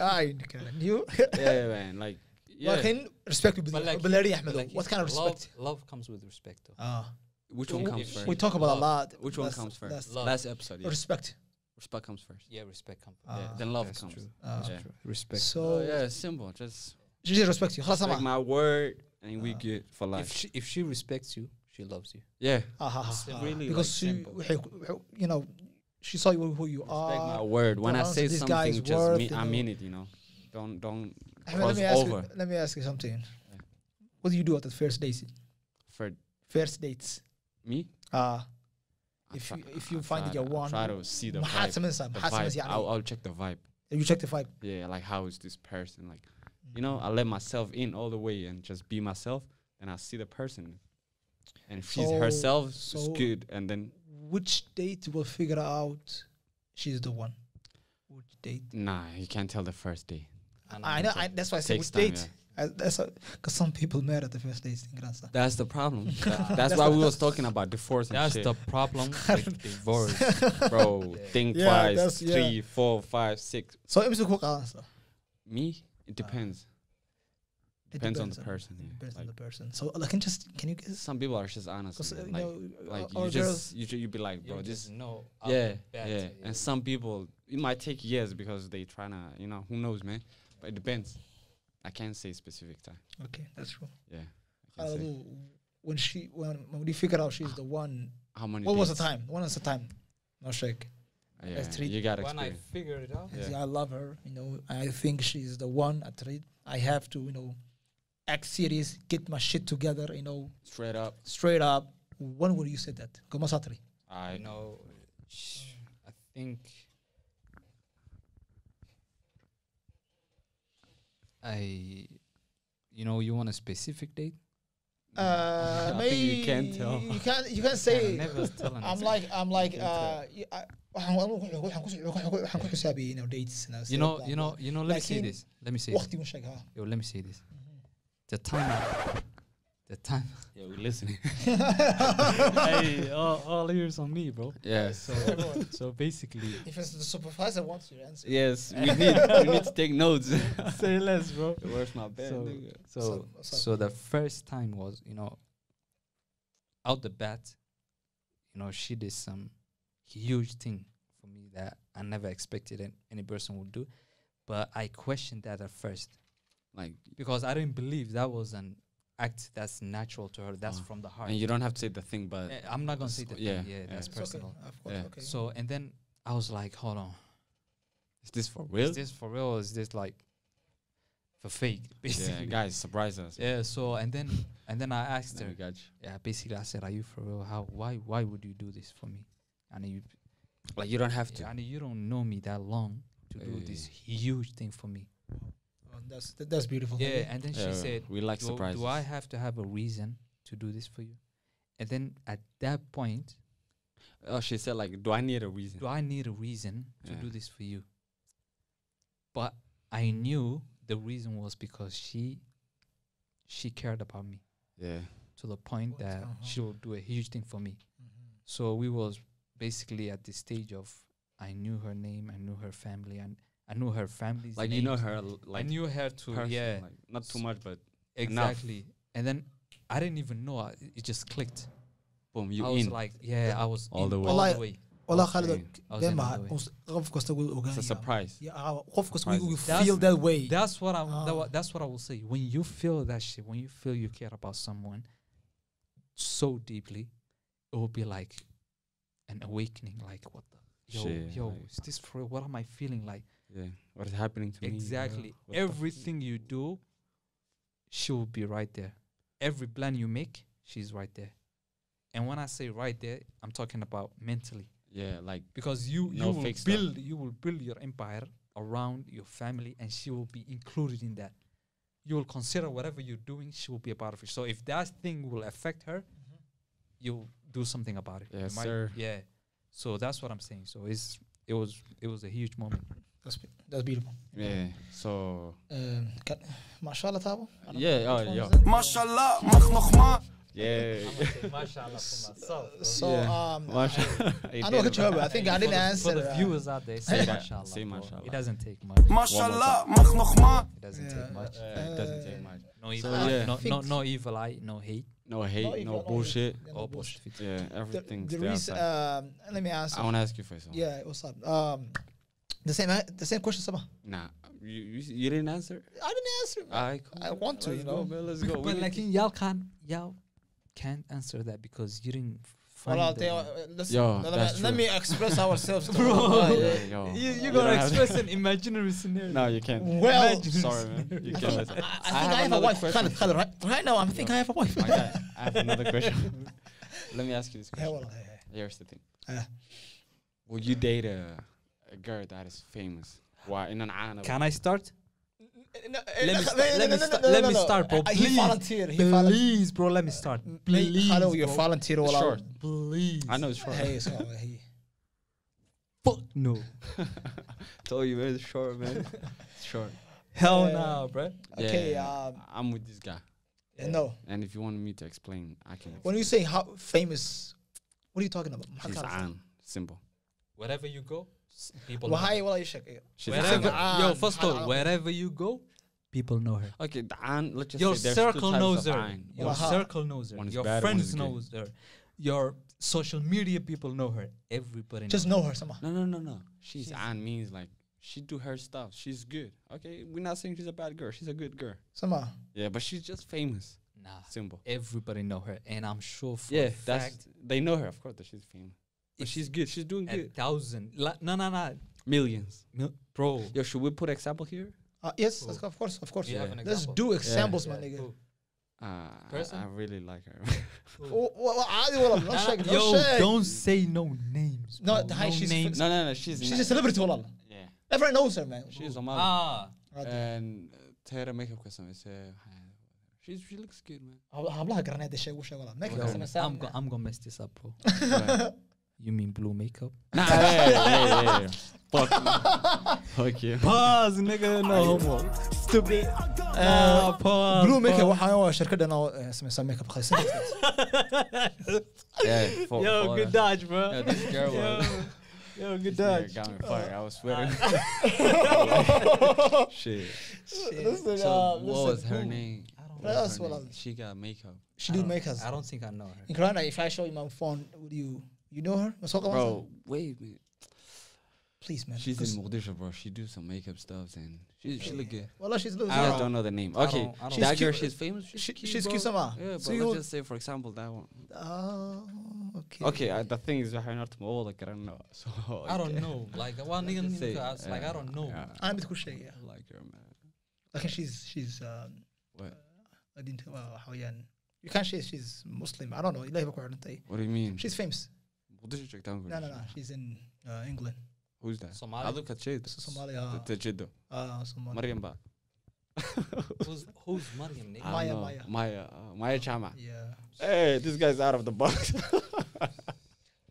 A: I knew
C: yeah, man. Like, yeah.
A: لكن respect
B: But like-
A: بالاري احمد
B: Like,
A: what kind of
B: love-
A: respect
B: Love comes with respect. though.
A: Ah.
C: Which one
B: Ooh,
C: comes
B: if
C: first?
A: we talk about a lot
C: Which one
A: That's-
C: comes first?
A: that's
B: Love.
C: Last episode. Yeah.
A: respect
C: Respect comes first.
B: Yeah, respect comes.
A: Ah,
C: yeah, then love
B: that's
C: comes.
B: true.
A: Ah.
B: That's
C: Yeah.
B: true. Respect.
C: So
A: so
C: yeah, it's simple. Just
A: she just respects you خلاص
C: respect
A: سمع
C: my word, and we
A: Ah.
C: good for
B: if
C: life.
B: she if she respects you, she loves you.
C: yeah,
A: Ah, ah,
C: It's
A: ah,
C: really,
A: because
C: like,
A: she
C: simple.
A: wixi- wixi- you know she saw you who you
C: respect
A: are
C: my word. When I
A: pronounce
C: say
A: Uh, this guy's
C: something, just
A: worth,
C: me,
A: you
C: I
A: know.
C: mean it. You know, don't don't
A: I mean, let
C: cross
A: me ask
C: over.
A: you let me ask you something what do you do at the first dates
C: for
A: first dates
C: me.
A: ah
C: I
A: If
C: try-
A: you- if you
C: I
A: find
C: try
A: it
C: to-
A: your
C: I
A: one,
C: try to see the
A: maximum
C: vibe.
A: سمع
C: The
A: maximum
C: vibe. I'll,
A: يعني
C: I'll check the vibe.
A: you check the vibe
C: Yeah, like how is this person? Like, you know, I let myself in all the way and just be myself, and I see the person, and if she's
A: So-
C: herself,
A: so-
C: it's good. And then
A: which date will figure out she's the one which date
C: nah, you can't tell the first day.
A: I know. I, that's why I said
C: Takes
A: which
C: time,
A: date. I, that's because some people married at the first date in Grandstand.
C: That's the problem. Tha- that's,
A: That's
C: why
A: the-
C: we was talking about divorce and
B: That's
C: shit.
B: the problem with divorce.
C: bro. Think
A: Yeah,
C: twice.
A: that's- yeah.
C: Three, four, five, six.
A: So it was a quick answer.
C: Me, it depends.
A: It
C: Depends on the person, yeah.
A: Depends on
C: Like-
A: the person. So like, can just can you guess?
C: Some people are just honest.
A: Because
C: with
A: you
C: it, like,
A: know,
C: like
A: uh, all
C: you
A: girls.
C: just you, ju- you be like,
B: You
C: bro,
B: just
C: this.
B: know. out
C: Yeah,
B: the bat,
C: yeah. And some people, it might take years because they trying to, you know, who knows, man. But it depends. I can't say specific time.
A: Okay, that's true.
C: Yeah. I can't say.
A: Although when she when when we figured out she's the one,
C: How many?
A: what was the
C: dates?
A: time? When was the time? No shake.
C: Yeah,
A: Three.
C: you got
B: when I
C: experience.
B: figured it out,
A: I
C: Yeah.
A: say, I love her. You know, I think she's the one. At three, I have to you know, act serious, get my shit together. You know,
C: Straight up.
A: straight up. When would you say that? Como satri?
C: I
B: you know, sh- I think I, you know, you want a specific date.
A: Uh,
C: I think you can
A: may-
C: tell.
A: You can't. You can't
B: I
A: say.
B: never tell an
A: I'm
B: ex-
A: like. I'm like.
C: You can
A: Uh, y- I- waxaan- waxaan- waxaan ku- waxaan ku- waxaan ku xisaabiyaa, you know, dates and I
B: you
A: said,
B: know,
A: blah,
B: you
A: blah.
B: know, you know. Let me say
A: Lakin-
B: this. Let me say this.
A: Waqti uun sheeg, ha.
B: Yo, let me say this. The time. The time.
C: Yeah, we listening.
B: hey, all, all ears on me, bro.
C: yes.
B: So, so basically,
A: If it's the supervisor wants your answer.
C: Yes, we need we need to take notes.
B: say less, bro.
C: Where's my bed?
B: So-
C: nigga?
B: So,
A: So- so-
B: so the first time was, you know, out the bat, you know, she did some huge thing for me that I never expected an- any person would do, but I questioned that at first
C: Like,
B: because I didn't believe that was an act that's natural to her, that's
C: Ah.
B: from the heart.
C: and you don't have to say the thing, but
B: Eh, I'm not gonna say
C: Just-
B: that. Yeah,
C: yeah,
B: yeah,
C: yeah.
B: that's
A: It's okay,
B: personal.
A: of course,
C: Yeah.
A: okay.
B: So, and then I was like, hold on,
C: is this for real?
B: is this for real? Or is this like for fake?
C: yeah,
B: Basically,
C: guys, surprise us.
B: Yeah, So, and then and then I asked
C: Then
B: her.
C: we got you.
B: yeah, basically I said, "Are you for real? How? Why? Why would you do this for me?" And you,
C: Like, you don't have to.
B: and you don't know me that long to do this huge thing for me.
A: Oh, that's that- that's beautiful.
B: Yeah,
A: Thank you.
B: and then
C: Yeah,
B: she said,
C: we like
B: do,
C: surprises.
B: "Do I have to have a reason to do this for you?" And then at that point,
C: Oh, she said like, do I need a reason?
B: do I need a reason to
C: Yeah.
B: do this for you? But I knew the reason was because she, she cared about me
C: Yeah.
B: to the point
A: What?
B: that
A: Uh-huh.
B: she will do a huge thing for me.
A: Mhm.
B: So we was basically at the stage of I knew her name, I knew her family, and I knew her family's
C: Like you know
B: names.
C: her, l- like
B: I knew her too.
C: person,
B: yeah,
C: like, not too much, but enough.
B: exactly. And then I didn't even know. I, it just clicked.
C: boom, you
B: I was
C: in.
B: like, yeah, I was
C: All
B: in
C: the way.
B: All
A: Like-
B: the way.
A: Wallah, Khalid,
C: Okay.
B: I was
A: damn,
B: in all
A: ah,
B: the way.
A: ons- qof kasta wuu
C: It's a
A: ogaan yahay.
C: surprise.
A: Yeah, ah, qof kasta wuu- wuu
B: That's-
A: feel that way.
B: That's what I. that
A: Ah.
B: wa- that's what I will say. When you feel that shit, when you feel you care about someone so deeply, it will be like an awakening. Like what the yo
C: Shit,
B: yo
C: like-
B: is this for? real? What am I feeling like?
C: Yeah. What is happening to me?
B: Exactly.
C: What the-
B: Everything you do, she will be right there. Every plan you make, she's right there. And when I say right there, I'm talking about mentally.
C: Yeah, like
B: Because you,
C: No
B: you will
C: fake stuff.
B: build you will build your empire around your family and she will be included in that. You will consider whatever you're doing, she will be a part of it. So if that thing will affect her, you'll do something about it. You
C: Mm-hmm. Yes,
B: might-
C: sir.
B: Yeah. So that's what I'm saying. So it's it was it was a huge moment.
A: That's be- that's beautiful.
C: yeah. So
A: Um, can- mashallah, Thabo. I don't know
C: Yeah,
A: which
C: oh,
A: one
C: yeah.
A: is it?
E: Mashallah, مخ مخ ما
C: yeah.
A: So
C: Yeah.
A: um,
C: Mashallah.
A: I know what you I think I didn't
B: for
A: answer.
B: the
A: uh,
B: viewers out there, say
C: Yeah.
B: mashallah.
C: Say
B: bro.
C: mashallah.
B: It doesn't take much. It
E: Mashallah, مخ مخ ما
B: doesn't
A: Yeah.
B: take much.
C: It doesn't take
A: Uh,
C: much.
B: No evil
C: So,
B: eye.
C: yeah.
B: No, no,
A: Fix.
B: no evil eye. No hate.
C: no hate,
A: if
C: no
A: you're not-
C: bullshit.
A: yeah, no
B: All
A: bullshit.
B: positive.
C: Yeah,
A: The,
C: everything's
A: the
C: there.
A: reason,
C: outside.
A: um, let me ask.
C: I want to ask you first.
A: Yeah, what's up? Um, the same, uh, the same question, Sabah.
C: Nah, you, you, you didn't answer.
A: I didn't answer.
C: I
A: I want to,
C: let's
A: you
C: go,
A: know.
C: man, let's go. We
B: but
C: need-
B: like in y'all can't y'all can't answer that because you didn't find
F: Well, I'll
B: the-
F: tell you, uh, listen,
C: Yo,
F: let,
C: that's
F: me, let
C: true.
F: me express ourselves.
B: Bro.
F: Bro.
C: Yeah, yo.
B: you, you
C: You
B: gotta
C: don't have-
B: express an imaginary scenario.
C: no, you can't.
A: Well-
C: Imagine- sorry, man. You can't. listen.
F: I, I think I have a
C: another
F: wife.
C: question.
F: Khalid, Khalid, right, right now, I think I have a wife.
C: My guy, I have another question. Let me ask you this
A: Yeah,
C: question.
A: well, uh, yeah,
C: Here's the thing.
A: yeah.
C: Will you date a, a girl that is famous? Why? In an island.
B: Can I start?
A: No,
B: Let
A: Eh, no,
B: me
A: no,
B: sta-
A: no,
B: let
A: no,
B: me
A: no,
B: sta-
A: no, no,
B: let
A: no,
B: me
A: no.
B: start, bro.
A: Uh, He
B: Please.
A: volunteered. He volunteered.
B: Please, bro, let me start. Please,
A: Please, Hello, you
B: bro.
A: volunteer all
C: It's
A: out.
C: short.
B: Please.
C: I know it's short.
A: Hey, so he.
B: Fuck no.
C: Told you it's short, man. it's short.
B: Hell
A: Yeah.
B: no, bro.
A: Okay,
C: Yeah,
A: um,
C: I'm with this guy.
A: No.
C: And if you want me to explain, I can.
A: When you say how famous, what are you talking about?
C: She's an simple.
B: Wherever you go, people.
A: Why? Well, you check.
C: She's
B: Wherever,
A: She's
B: yo,
A: an-
B: first of all, wherever you go, people know her.
C: Okay, the an. Let's just
B: Your
C: say there's
B: circle
C: two types
B: knows
C: of
B: her.
C: an.
B: Your
A: Well, how-
B: circle knows her.
C: One is
B: Your
C: bad, one
B: friends
C: is good.
B: knows her. Your social media people know her. Everybody knows
A: Just know her somehow.
C: No, no, no, no. She's, an means like she do her stuff. She's good. Okay, we're not saying she's a bad girl. She's a good girl.
A: Somehow.
C: Yeah, but she's just famous.
B: her. Nah.
C: Simple.
B: Everybody know her. And I'm sure for
C: yeah,
B: a
C: that's
B: fact,
C: they know her. Of course, that she's famous. But
B: If-
C: she's good. She's doing
B: a
C: good.
B: thousand. La, no, no, no.
C: Millions.
B: Mil- Bro.
C: Yo, should we put example here?
A: Uh, yes, let's go, of course, of course.
B: Do you have an
A: Let's
B: example?
A: do examples,
B: Yeah,
A: my nigga.
B: cool.
C: Uh, I-
B: Person?
C: I, really like her.
A: Oh, well, well, I- well, I'm
B: Nah,
A: not shaking,
B: yo,
A: no shake.
B: don't say no names.
A: No,
B: bro.
A: hi, she's
B: names.
C: no, no, no. She's
A: She's
C: not-
A: a celebrity, wallah.
C: Yeah,
A: Everyone knows her, man.
C: she's a model.
B: Ah,
C: and uh, Tara makeup custom is uh, she's she looks good, man.
A: Hablaha garaneed sheeg u sheeg wallah. Make
B: yo,
A: her some
B: I'm,
A: sound,
B: go- I'm gonna mess this up, bro.
C: Yeah.
B: You mean blue makeup?
C: nah, hey, hey, hey, hey. fuck, you. fuck you.
B: Pause, nigga. No homo. Stupid. Ah, pause.
A: Uh, Blue Maker waxaan waa shirkaddan oo eh, samaysa makeup qaysan.
C: Yeah, for,
B: Yo,
C: for
B: good
C: her.
B: dodge, bro.
C: Yeah, this girl
B: Yo,
C: was.
B: yo, good
C: this
B: dodge.
C: nigga Got me fired. I was sweating. Shit.
A: Listen, uh,
C: So, what was
A: listen.
C: her name? Um,
B: don't
C: What was
A: That's
C: her
A: what
C: name?
A: I'm-
C: She got makeup.
A: She do makers.
B: I don't think I know her.
C: uh,
A: In Corona, if I show you my phone, would you you know her? Mas waqo
C: Bro, wait, man.
A: please man.
C: She's
A: because-
C: in Mogadishu, bro. She do some makeup stuff and she she look good.
A: Wallah, she's
C: I
A: losing.
C: just don't know the name.
B: I
C: Okay,
B: don't- I don't-
C: that
A: She's
C: girl,
A: cute.
C: she's famous. She's
A: She-
C: cute,
A: she's
C: bro.
A: cute somehow.
C: Yeah, but
A: So
C: let's
A: you-
C: just say, for example, that one.
A: Oh, okay.
C: Okay, uh, the thing is, I not all like I don't know. So
B: I don't
C: okay.
B: know. Like, one
C: Let's
B: nigga,
C: just say,
B: nigga, I was like, I
C: uh,
B: don't know.
C: yeah,
A: I'm with Kushay, yeah.
C: I like her, man.
A: Like she's she's um
C: What?
A: I didn't well how yan. You can't say she's Muslim. I don't know. Ilahi baku arantay.
C: What do you mean?
A: She's famous.
C: Mogadishu check down.
A: No no no. She's in uh, England.
C: Who's that?
B: Somali.
C: I look at Jade.
A: So Somalia.
C: The Jiddo.
A: Uh Somalia.
C: Mariam Ba.
B: Who's, who's Mariam, nigga?
A: Maya,
C: I don't know.
A: Maya.
C: Maya, uh, Maya Chama.
A: Yeah.
C: Hey, this guy's out of the box.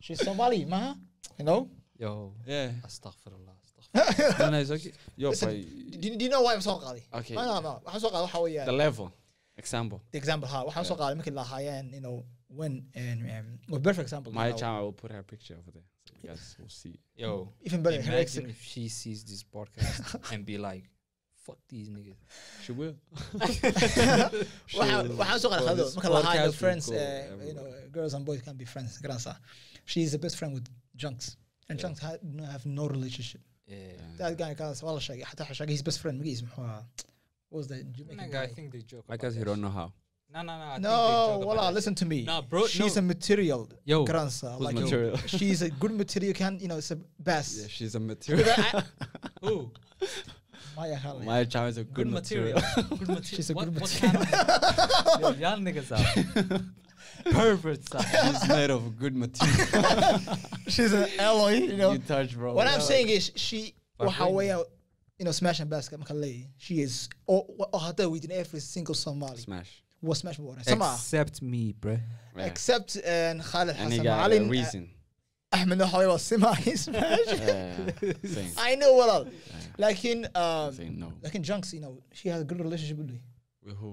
A: She's Somali, ma. You know?
B: Yo.
C: yeah.
B: Astaghfirullah. astaghfirullah.
C: no, no, it's okay. Yo,
A: Listen,
C: but
A: Do, do you know why I'm so qali?
C: Okay.
A: No no no. I'm so qali how
C: the level. Example.
A: the example ها waxaan soo qaaday markii la lahaayeen you know when and um, well, perfect example
C: Maya
A: you know,
C: Chama, I will put her picture over there. So you guys will see.
B: Yo.
A: even better than
B: Imagine
A: Ericsson.
B: if she sees this podcast and be like, fuck these niggas.
C: She will.
A: waxaan waxaan soo qaaday
C: Well,
A: khaldoo
C: this
A: marka lahaayo
C: podcast will
A: friends
C: go
A: uh, you
C: everywhere.
A: know girls and boys can be friends garansa she is the best friend with junks and junks ha- no- have no relationship
B: Yeah.
A: that guy kaas waa la sheegay xataa waxaa sheegay his best friend magiis muxuu ahaa what was the Jamaican
B: Nigga, I
A: guy?
B: think they joke.
C: I
B: about
C: guess you
B: that
C: don't
B: shit.
C: know how.
B: No, no, no. I think they
A: no
B: joke
A: wala
B: about that
A: listen to me
B: Nah, bro,
A: she's a
B: no.
A: material
B: Yo,
A: garansa
C: who's
A: like
C: material?
A: she's a good material can you know it's a best
C: Yeah, she's a material.
B: shit. Who?
A: Maya Halley.
C: Maya Chama is a
B: Good material. Good material.
A: She's a
B: what,
A: good
B: what kind of- Yo, Y'all niggas are perverts. are.
C: she's made of good material.
A: she's an alloy you know
C: you touch, bro.
A: What I'm saying is she
B: But
A: how
B: when-
A: way out you know smash and basket marka leeyahay. she is oh oh within every single Somali
C: Smash.
A: was smash water sama
B: Except me, bruh.
C: Yeah.
A: except and Khalid
C: and he
A: Hassan
C: got a uh,
A: Malin
C: reason.
A: Ahmed Nahawi was semi smash
C: Yeah, saying,
A: I know what like in um
C: saying no.
A: like in Junks you know she has a good relationship with,
C: With who?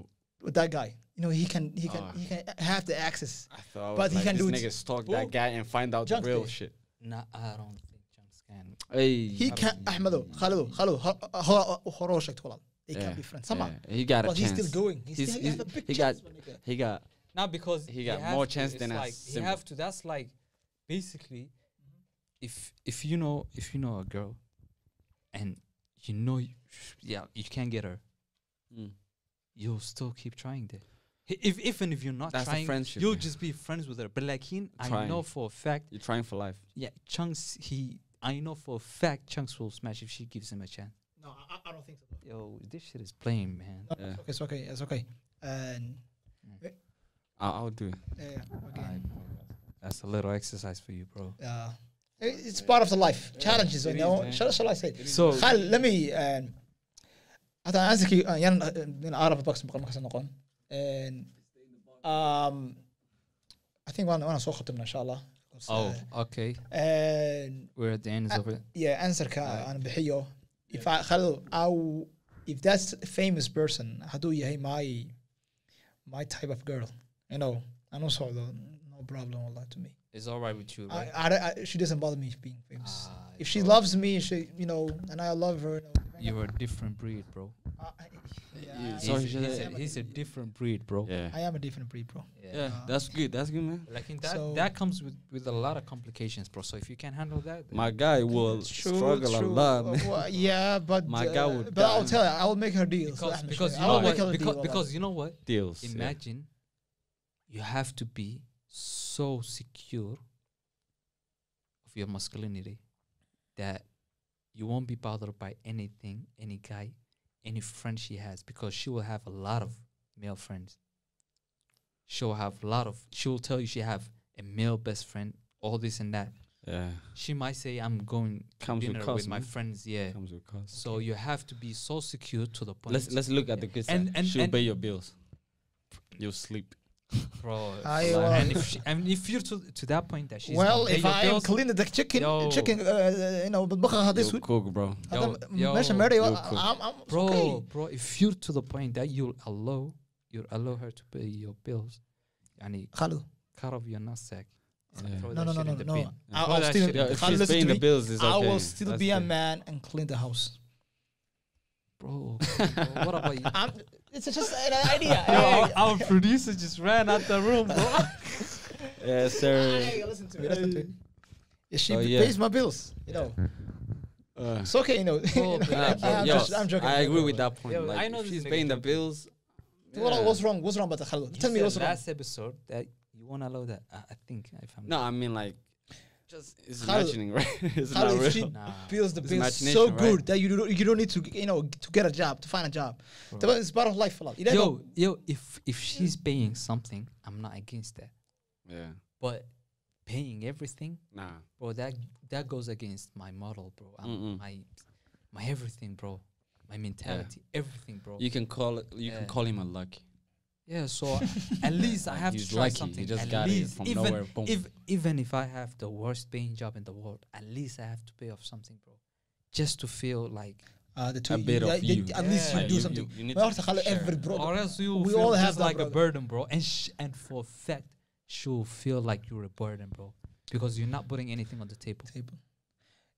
A: with that guy you know he can he can
C: Ah.
A: he can have the access
C: I thought.
A: But
C: But
A: he
C: like,
A: can do
C: this
A: it-
C: nigga stalk
A: Who?
C: that guy and find out the
A: Junk
C: real
A: day.
C: shit.
B: Nah, I don't think jumps can.
C: Hey,
A: he can Ahmedo Khalido Khalido horo sheegto walaal they
C: yeah,
A: can be friends sama
C: yeah, he got a
A: but he's
C: chance.
A: still going he's,
C: He's-
A: still
C: he's-
A: have a big
C: he
A: chance
C: got
A: my nigga.
C: he got
B: Not because
C: He
B: you
C: got
B: have
C: more
B: to,
C: chance
B: it's
C: than us,
B: like, You
C: simple.
B: have to. That's like basically, if if you know if you know a girl, and you know, you, yeah, you can't get her.
C: Mm.
B: You'll still keep trying that. H- If even if you're not
C: That's a
B: trying,
C: friendship,
B: you'll
C: yeah.
B: just be friends with her. But like him, I
C: Trying.
B: know for a fact.
C: You're trying for life.
B: Yeah, Chunks. He, I know for a fact, Chunks will smash if she gives him a chance.
A: No, I, I don't think so.
B: Yo, this shit is plain, man.
A: No,
C: Yeah.
A: it's okay, it's okay, it's okay. And
C: I- I'll do it.
A: uh, okay.
B: I- that's a little exercise for you, bro.
A: Uh, it- it's part of the life challenges. you
C: it is,
A: know,
C: man.
A: shall, shall I say?
B: So
A: Khalid, let me. Um, حتى أنا أنسى يعني من أعرف بوكس بقول ما نقول. And um, I think وأنا وأنا سوق ختمنا إن شاء الله.
B: Oh, okay.
A: And
B: We're at the end
A: Uh,
B: of it.
A: yeah, answer ka أنا بحيو. If I Khalid أو if that's a famous person هدو يهي my my type of girl. You know, أنا صعدو no problem والله to me.
B: It's all right with you,
A: I,
B: right?
A: I, don't- I, she doesn't bother me being famous.
B: Ah,
A: if she
B: bro.
A: loves me, she you know, and I love her. You know,
B: You're a different breed, bro.
A: I, I-
C: you-
A: yeah, I-
B: He's,
C: So
B: a,
C: he should-
B: he's, a, he's a different breed, bro.
C: Yeah.
A: I am a different breed, bro.
C: Yeah, that's good. That's good, man.
B: Like in that,
A: So-
B: that comes with, with a lot of complications, bro. So if you can't handle that, then
C: My guy will
A: True,
C: struggle
A: true.
C: a lot, man.
A: Well, yeah, but
C: My
A: uh,
C: guy would
A: but I'll
C: die.
A: tell her. I will make her deals.
B: because
A: Ahmed
B: because
A: Shahid.
B: you
A: I
B: know
A: will make her
B: what,
A: a deal. والله.
B: because, because you know what,
C: Deals. yeah.
B: imagine you have to be so secure of your masculinity that you won't be bothered by anything, any guy, any friend she has, because she will have a lot of male friends. She'll have a lot of. She will tell you she have a male best friend, all this and that.
C: Yeah.
B: She might say, "I'm going to
C: Comes with
B: dinner
C: cost,
B: with my
C: man.
B: friends." Yeah.
C: Comes with cost.
B: So you have to be so secure to the point.
C: Let's let's look at the good side.
B: And- and-
C: She'll
B: and-
C: pay your bills. You'll sleep.
B: bro.
A: I
B: it's a lot.
A: will-
B: and if she, and if you're to, to that point that she's
A: well,
B: gonna pay
A: if
B: your
A: I am
B: bills,
A: cleaning the chicken,
B: Yo.
A: chicken, uh, you know, بالبخار هذا
C: You'll
A: سود.
C: cook, bro.
B: Yo, yo,
A: ماشي مري
C: yo,
A: I'm
C: cool.
A: I'm it's
B: bro,
A: okay.
B: bro, if you're to the point that you'll allow you'll allow her to pay your bills, yani
A: خلو.
B: cut off your nutsack. and
C: Yeah.
B: throw
A: No no
B: that
A: no
B: shit
A: no
B: in the
A: no.
B: bin.
A: I-
B: Throw
A: I'll
B: that
A: still
B: shit in
C: Yeah,
B: the
C: if
A: Khalid,
C: she's
A: listen to
C: paying the
A: me.
C: bills, it's
A: I
C: okay.
A: will still
C: That's
A: be a
C: good.
A: man and clean the house.
B: bro. bro, what about you?
A: I'm, it's just an idea.
B: Our, our producer just ran out the room, bro.
C: Yeah, sir.
A: Hey, listen to me. Listen to me. Yeah, she
C: Oh,
A: p-
C: yeah.
A: pays my bills. You know,
C: Uh,
A: it's okay. You know,
B: Oh, but-
C: nah, but
A: I'm,
C: yo,
A: just, I'm joking.
C: I
A: I'm
C: agree
A: joking.
C: with that point.
B: Yo,
C: like,
B: I know
C: if
B: this
C: she's
B: nigga
C: paying the
B: joking.
C: bills.
A: What,
C: yeah.
A: what's wrong? What's wrong about the halal? Tell me what's wrong.
B: last episode that you won't allow that. I, I think if I'm
C: No, I mean like, just it's
A: How-
C: imagining, right? it's not
A: Halal,
C: real.
A: she
B: Nah.
A: feels the
C: It's
A: bills
C: imagination,
A: so
C: right?
A: good that you don't, you don't need to you know to get a job to find a job. That was- It's part of life, halal. You don't
B: yo, yo, if if she's paying something, I'm not against that.
C: Yeah.
B: But paying everything,
C: Nah.
B: bro, that that goes against my model, bro. i
C: Mm-mm.
B: my my everything, bro. My mentality, everything, bro.
C: You can call it. You
B: Yeah.
C: can call him a lucky.
B: yeah, so at least I
C: Like,
B: have
C: he's
B: to try
C: lucky, he
B: something.
C: just
B: at
C: got it
B: least,
C: from
B: even
C: nowhere, boom.
B: if even if I have the worst paying job in the world, at least I have to pay off something, bro. Just to feel like,
A: Uh, the two
C: A bit
A: you-
C: of
A: yeah,
C: you.
A: At least
B: Yeah.
A: you do
B: You-
A: something.
C: you need
A: Well,
C: to
A: halal,
C: share.
A: every brother.
B: or else you
A: we
B: feel
A: all
B: just
A: have that,
B: like a
A: brother.
B: burden, bro. And sh- and for a fact, she'll feel like you're a burden, bro, because you're not putting anything on the table.
A: Table.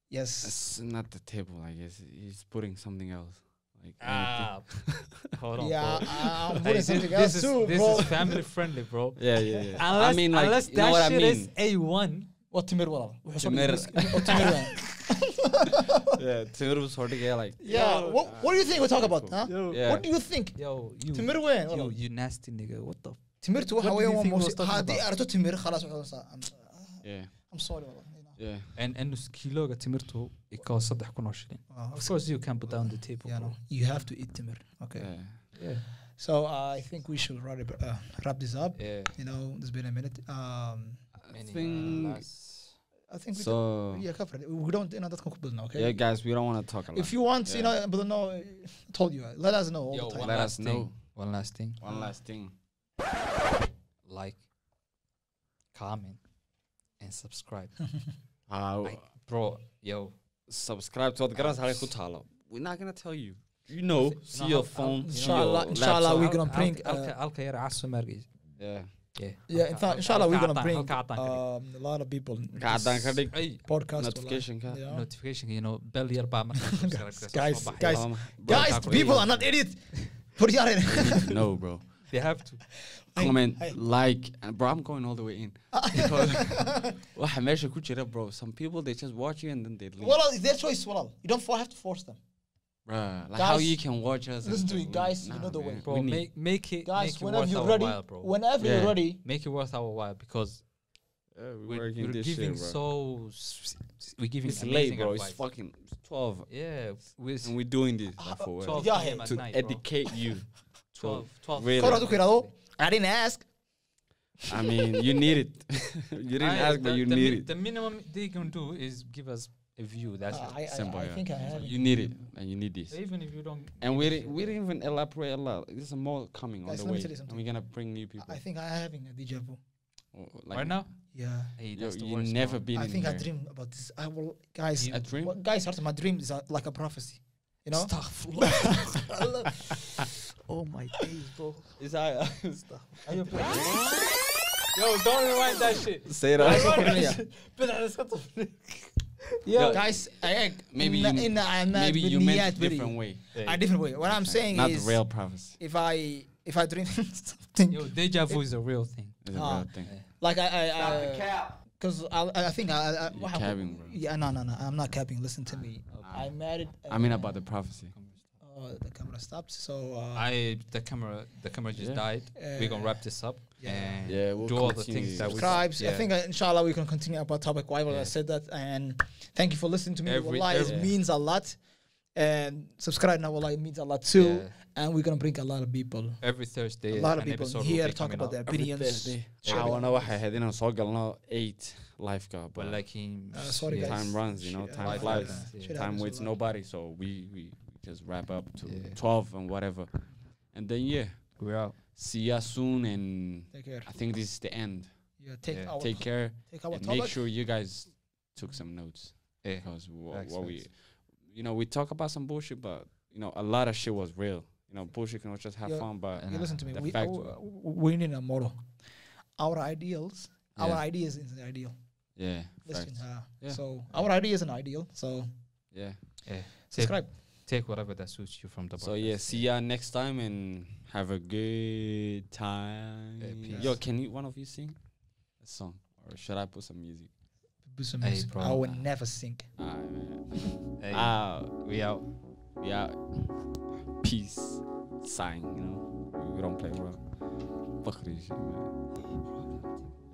A: Yes.
C: It's not the table. I guess he's putting something else. Like
B: Ah, hold on,
A: Yeah,
B: bro.
A: I- I'm putting
B: Hey, this,
A: something
B: this
A: else
B: is,
A: too,
B: this
A: bro.
B: is family friendly, bro.
C: Yeah, yeah, yeah.
B: Unless,
C: I mean, like,
B: unless
C: you know
B: that
C: what I
B: shit
C: mean?
B: is A1.
A: Watermelon, wallah. Wuxuu soo
C: Timir.
A: dhigay- watermelon.
C: yeah, Timur was hard to get like.
A: Yeah. What What do you think we talk about? Huh?
C: Yeah.
A: What do you think?
B: Yo, you,
A: Timir وين؟
B: yo,
A: والله.
B: you nasty nigga. What the? F-
A: تمرت
B: What
A: waxa
B: do you
A: weeyaan waa
B: think we're
A: mawsi-
B: talking
A: haddii
B: about?
A: aragto timir khalaas waxay noqonaysaa I'm-
C: Yeah,
A: I'm sorry والله.
C: yeah.
B: and and us kiloga timirtu ikaw saddex kun oo shilin.
A: Ah,
B: Of course you can put down the table.
A: Yeah,
B: bro.
A: no. You have to eat timir. Okay.
C: yeah.
B: Yeah.
A: So uh, I think we should wrap, it- uh, wrap this up.
B: yeah.
A: You know, it's been a minute. Um,
C: I
B: Many
C: think
B: last-
A: I think we
C: so.
A: did, yeah covered it. We don't you know that's بدنا okay.
C: Yeah, guys, we don't want to talk a lot.
A: if you want, you
C: Yeah.
A: know, but no, I told you. uh, Let us know all
B: Yo,
A: the time.
B: one
C: Let
B: last
C: us know.
B: thing. One last thing.
C: One last thing.
B: Like, comment, and subscribe.
C: Uh,
B: Like, bro, yo.
C: subscribe to Odgaras Hare Kutalo. We're not gonna tell you. You know, see your phone. see
A: Inshallah-
C: your
A: inshallah
C: laptop.
A: we gonna bring,
B: Alka Alka yara asu margis.
C: Yeah.
B: Yeah.
A: Yeah, in fact, inshallah, we're gonna bring
B: uh,
A: um, a lot of people. in
C: Ka
A: this
C: adaan ka dhig.
A: podcast.
C: Notification ka.
A: والله. Yeah.
B: notification you know bell yar ba marka subscribe karto,
A: guys,
B: soo baxay.
A: guys.
C: Um,
A: Guys,
B: Bro,
A: people are not idiots. Put your in.
C: no, bro.
B: they have to
C: comment,
A: hey.
C: like, and bro, I'm going all the way in. Because- Waxa meesha ku jira, bro. Some people they just watch you and then they leave.
F: Well, it's their choice, Walal. You don't fo- have to force them.
C: Bruh, like how
F: Guys,
C: you can watch us. and
F: listen to
C: then
F: me,
C: leave.
F: guys, you
C: Nah,
F: know the way.
C: man,
B: Bro,
C: we need-
B: make, make it,
F: Guys,
B: make it
F: whenever
B: worth
F: you're
B: our
F: ready,
B: while, bro.
F: whenever
C: Yeah.
F: you're ready,
B: make it worth our while because
C: Yeah, we're
B: we're,
C: working
B: we're
C: this shit,
B: giving
C: bro.
B: so s- s- we're giving
C: It's
B: amazing
C: late, bro. It's
B: advice.
C: fucking it's 12.
B: yeah we're
C: And we're doing this like, for work.
B: 12
F: Yeah,
B: p.m. at
C: To
B: night bro.
C: educate you.
B: 12 12
C: Really.
F: Kor hadu ku yidhahdo, I didn't ask.
C: I mean, you need it. you didn't
B: I-
C: ask,
B: the,
C: but you
B: the
C: need
B: mi-
C: it.
B: the minimum they can do is give us a view
A: Ah,
B: that's
A: Uh,
B: it.
F: I, I,
C: Simple,
F: I
C: yeah.
F: think I have. it.
C: You need it, and you need this.
B: even if you don't
C: And we didn't, we didn't even elaborate a lot. There's some more coming on
A: Guys,
C: the
A: let me
C: way,
A: tell you
C: and
A: something.
C: we're gonna bring new people.
A: I think I having a deja vu.
C: Or- or
B: right now
A: Yeah.
B: hey
C: you,
B: that's the
C: you
B: worst
C: never
B: bro.
C: been.
A: I
C: in
A: think I
C: here.
A: dream about this. I will, guys.
C: A dream.
A: Well, guys, heart of my dreams are like a prophecy. You know.
F: Oh my days, bro.
C: Is I
F: Are you playing?
B: yo don't rewind that shit
C: say that?
A: Yeah. Guys, I, I,
C: Maybe
A: in,
C: you-
A: in, I'm not
C: Maybe
A: with
C: you
A: niyat,
C: meant
A: very-
C: different way.
A: A different way. What I'm saying
C: Not the
A: is,
C: real prophecy.
A: if I if I dream something
B: yo deja vu is a real thing
C: It's a
A: Ah.
C: real thing.
A: like I, I, because I, I, think I, I
C: You're
A: what happened?
C: capping, bro.
A: Yeah, no, no, no. I'm not capping. Listen to me. I married.
C: I mean about the prophecy.
A: Oh, the camera stopped. So uh,
B: I the camera the camera just
C: Yeah.
B: died we're gonna
A: Uh,
B: wrap this up
A: yeah.
B: and
C: Yeah, we'll
B: do all the
C: continue.
B: things that we
A: tribes. I
B: yeah.
A: think uh, inshallah we can continue about topic. Why will I
C: Yeah.
A: said that? And thank you for listening to me.
B: Every-
A: Wallah, it
B: every-
A: means a lot. And subscribe now. Wallah, it means a lot too.
B: Yeah.
A: And we're gonna bring a lot of people.
B: every Thursday
A: A lot of
B: an
A: people
B: episode will
A: here
B: be
A: talk
B: coming
A: about
B: up.
A: their opinions.
C: Caawana waxay ahayd inaan soo galno eight lifeguard,
B: but
C: but like
B: like in
A: Uh, sorry, guys.
C: time runs, you know,
A: Shit
C: time
B: happens.
C: flies,
B: Yeah.
A: Shit
C: time
A: happens a
C: waits
A: lot.
C: nobody. So we we just wrap up to
B: Yeah.
C: twelve and whatever, and then yeah,
B: we're out
C: see ya soon. And
A: Take care.
C: I think this is the end.
A: Yeah, take
B: Yeah.
A: our
C: Take care.
A: take our
C: and make
A: topic.
C: sure you guys took some notes
B: yeah
C: because wha-
B: Facts,
C: what we,
B: facts.
C: you know, we talk about some bullshit, but you know, a lot of shit was real. You know, bullshit can just have
A: Yeah.
C: fun, but
A: You listen to me.
C: the
A: We,
C: fact-
A: uh, we need a model. Our ideals, our
C: Yeah.
A: ideas is an ideal.
C: yeah,
A: Listen,
C: facts.
A: uh,
C: Yeah.
A: so our idea is an ideal. So
C: yeah.
B: yeah
A: subscribe.
B: take whatever that suits you from the
C: So
B: podcast.
C: yeah, see ya next time and have a good time.
B: Yeah, peace.
C: Yo, can you one of you sing a song or should I put some music?
A: Do some
B: Hey,
A: music.
B: bro.
A: I will never sink.
C: Alright, man.
B: Hey,
C: Out.
B: we out
C: Ah, we out. Peace. Sign. You know, we don't play well. Fuck this shit, man.
D: Oh,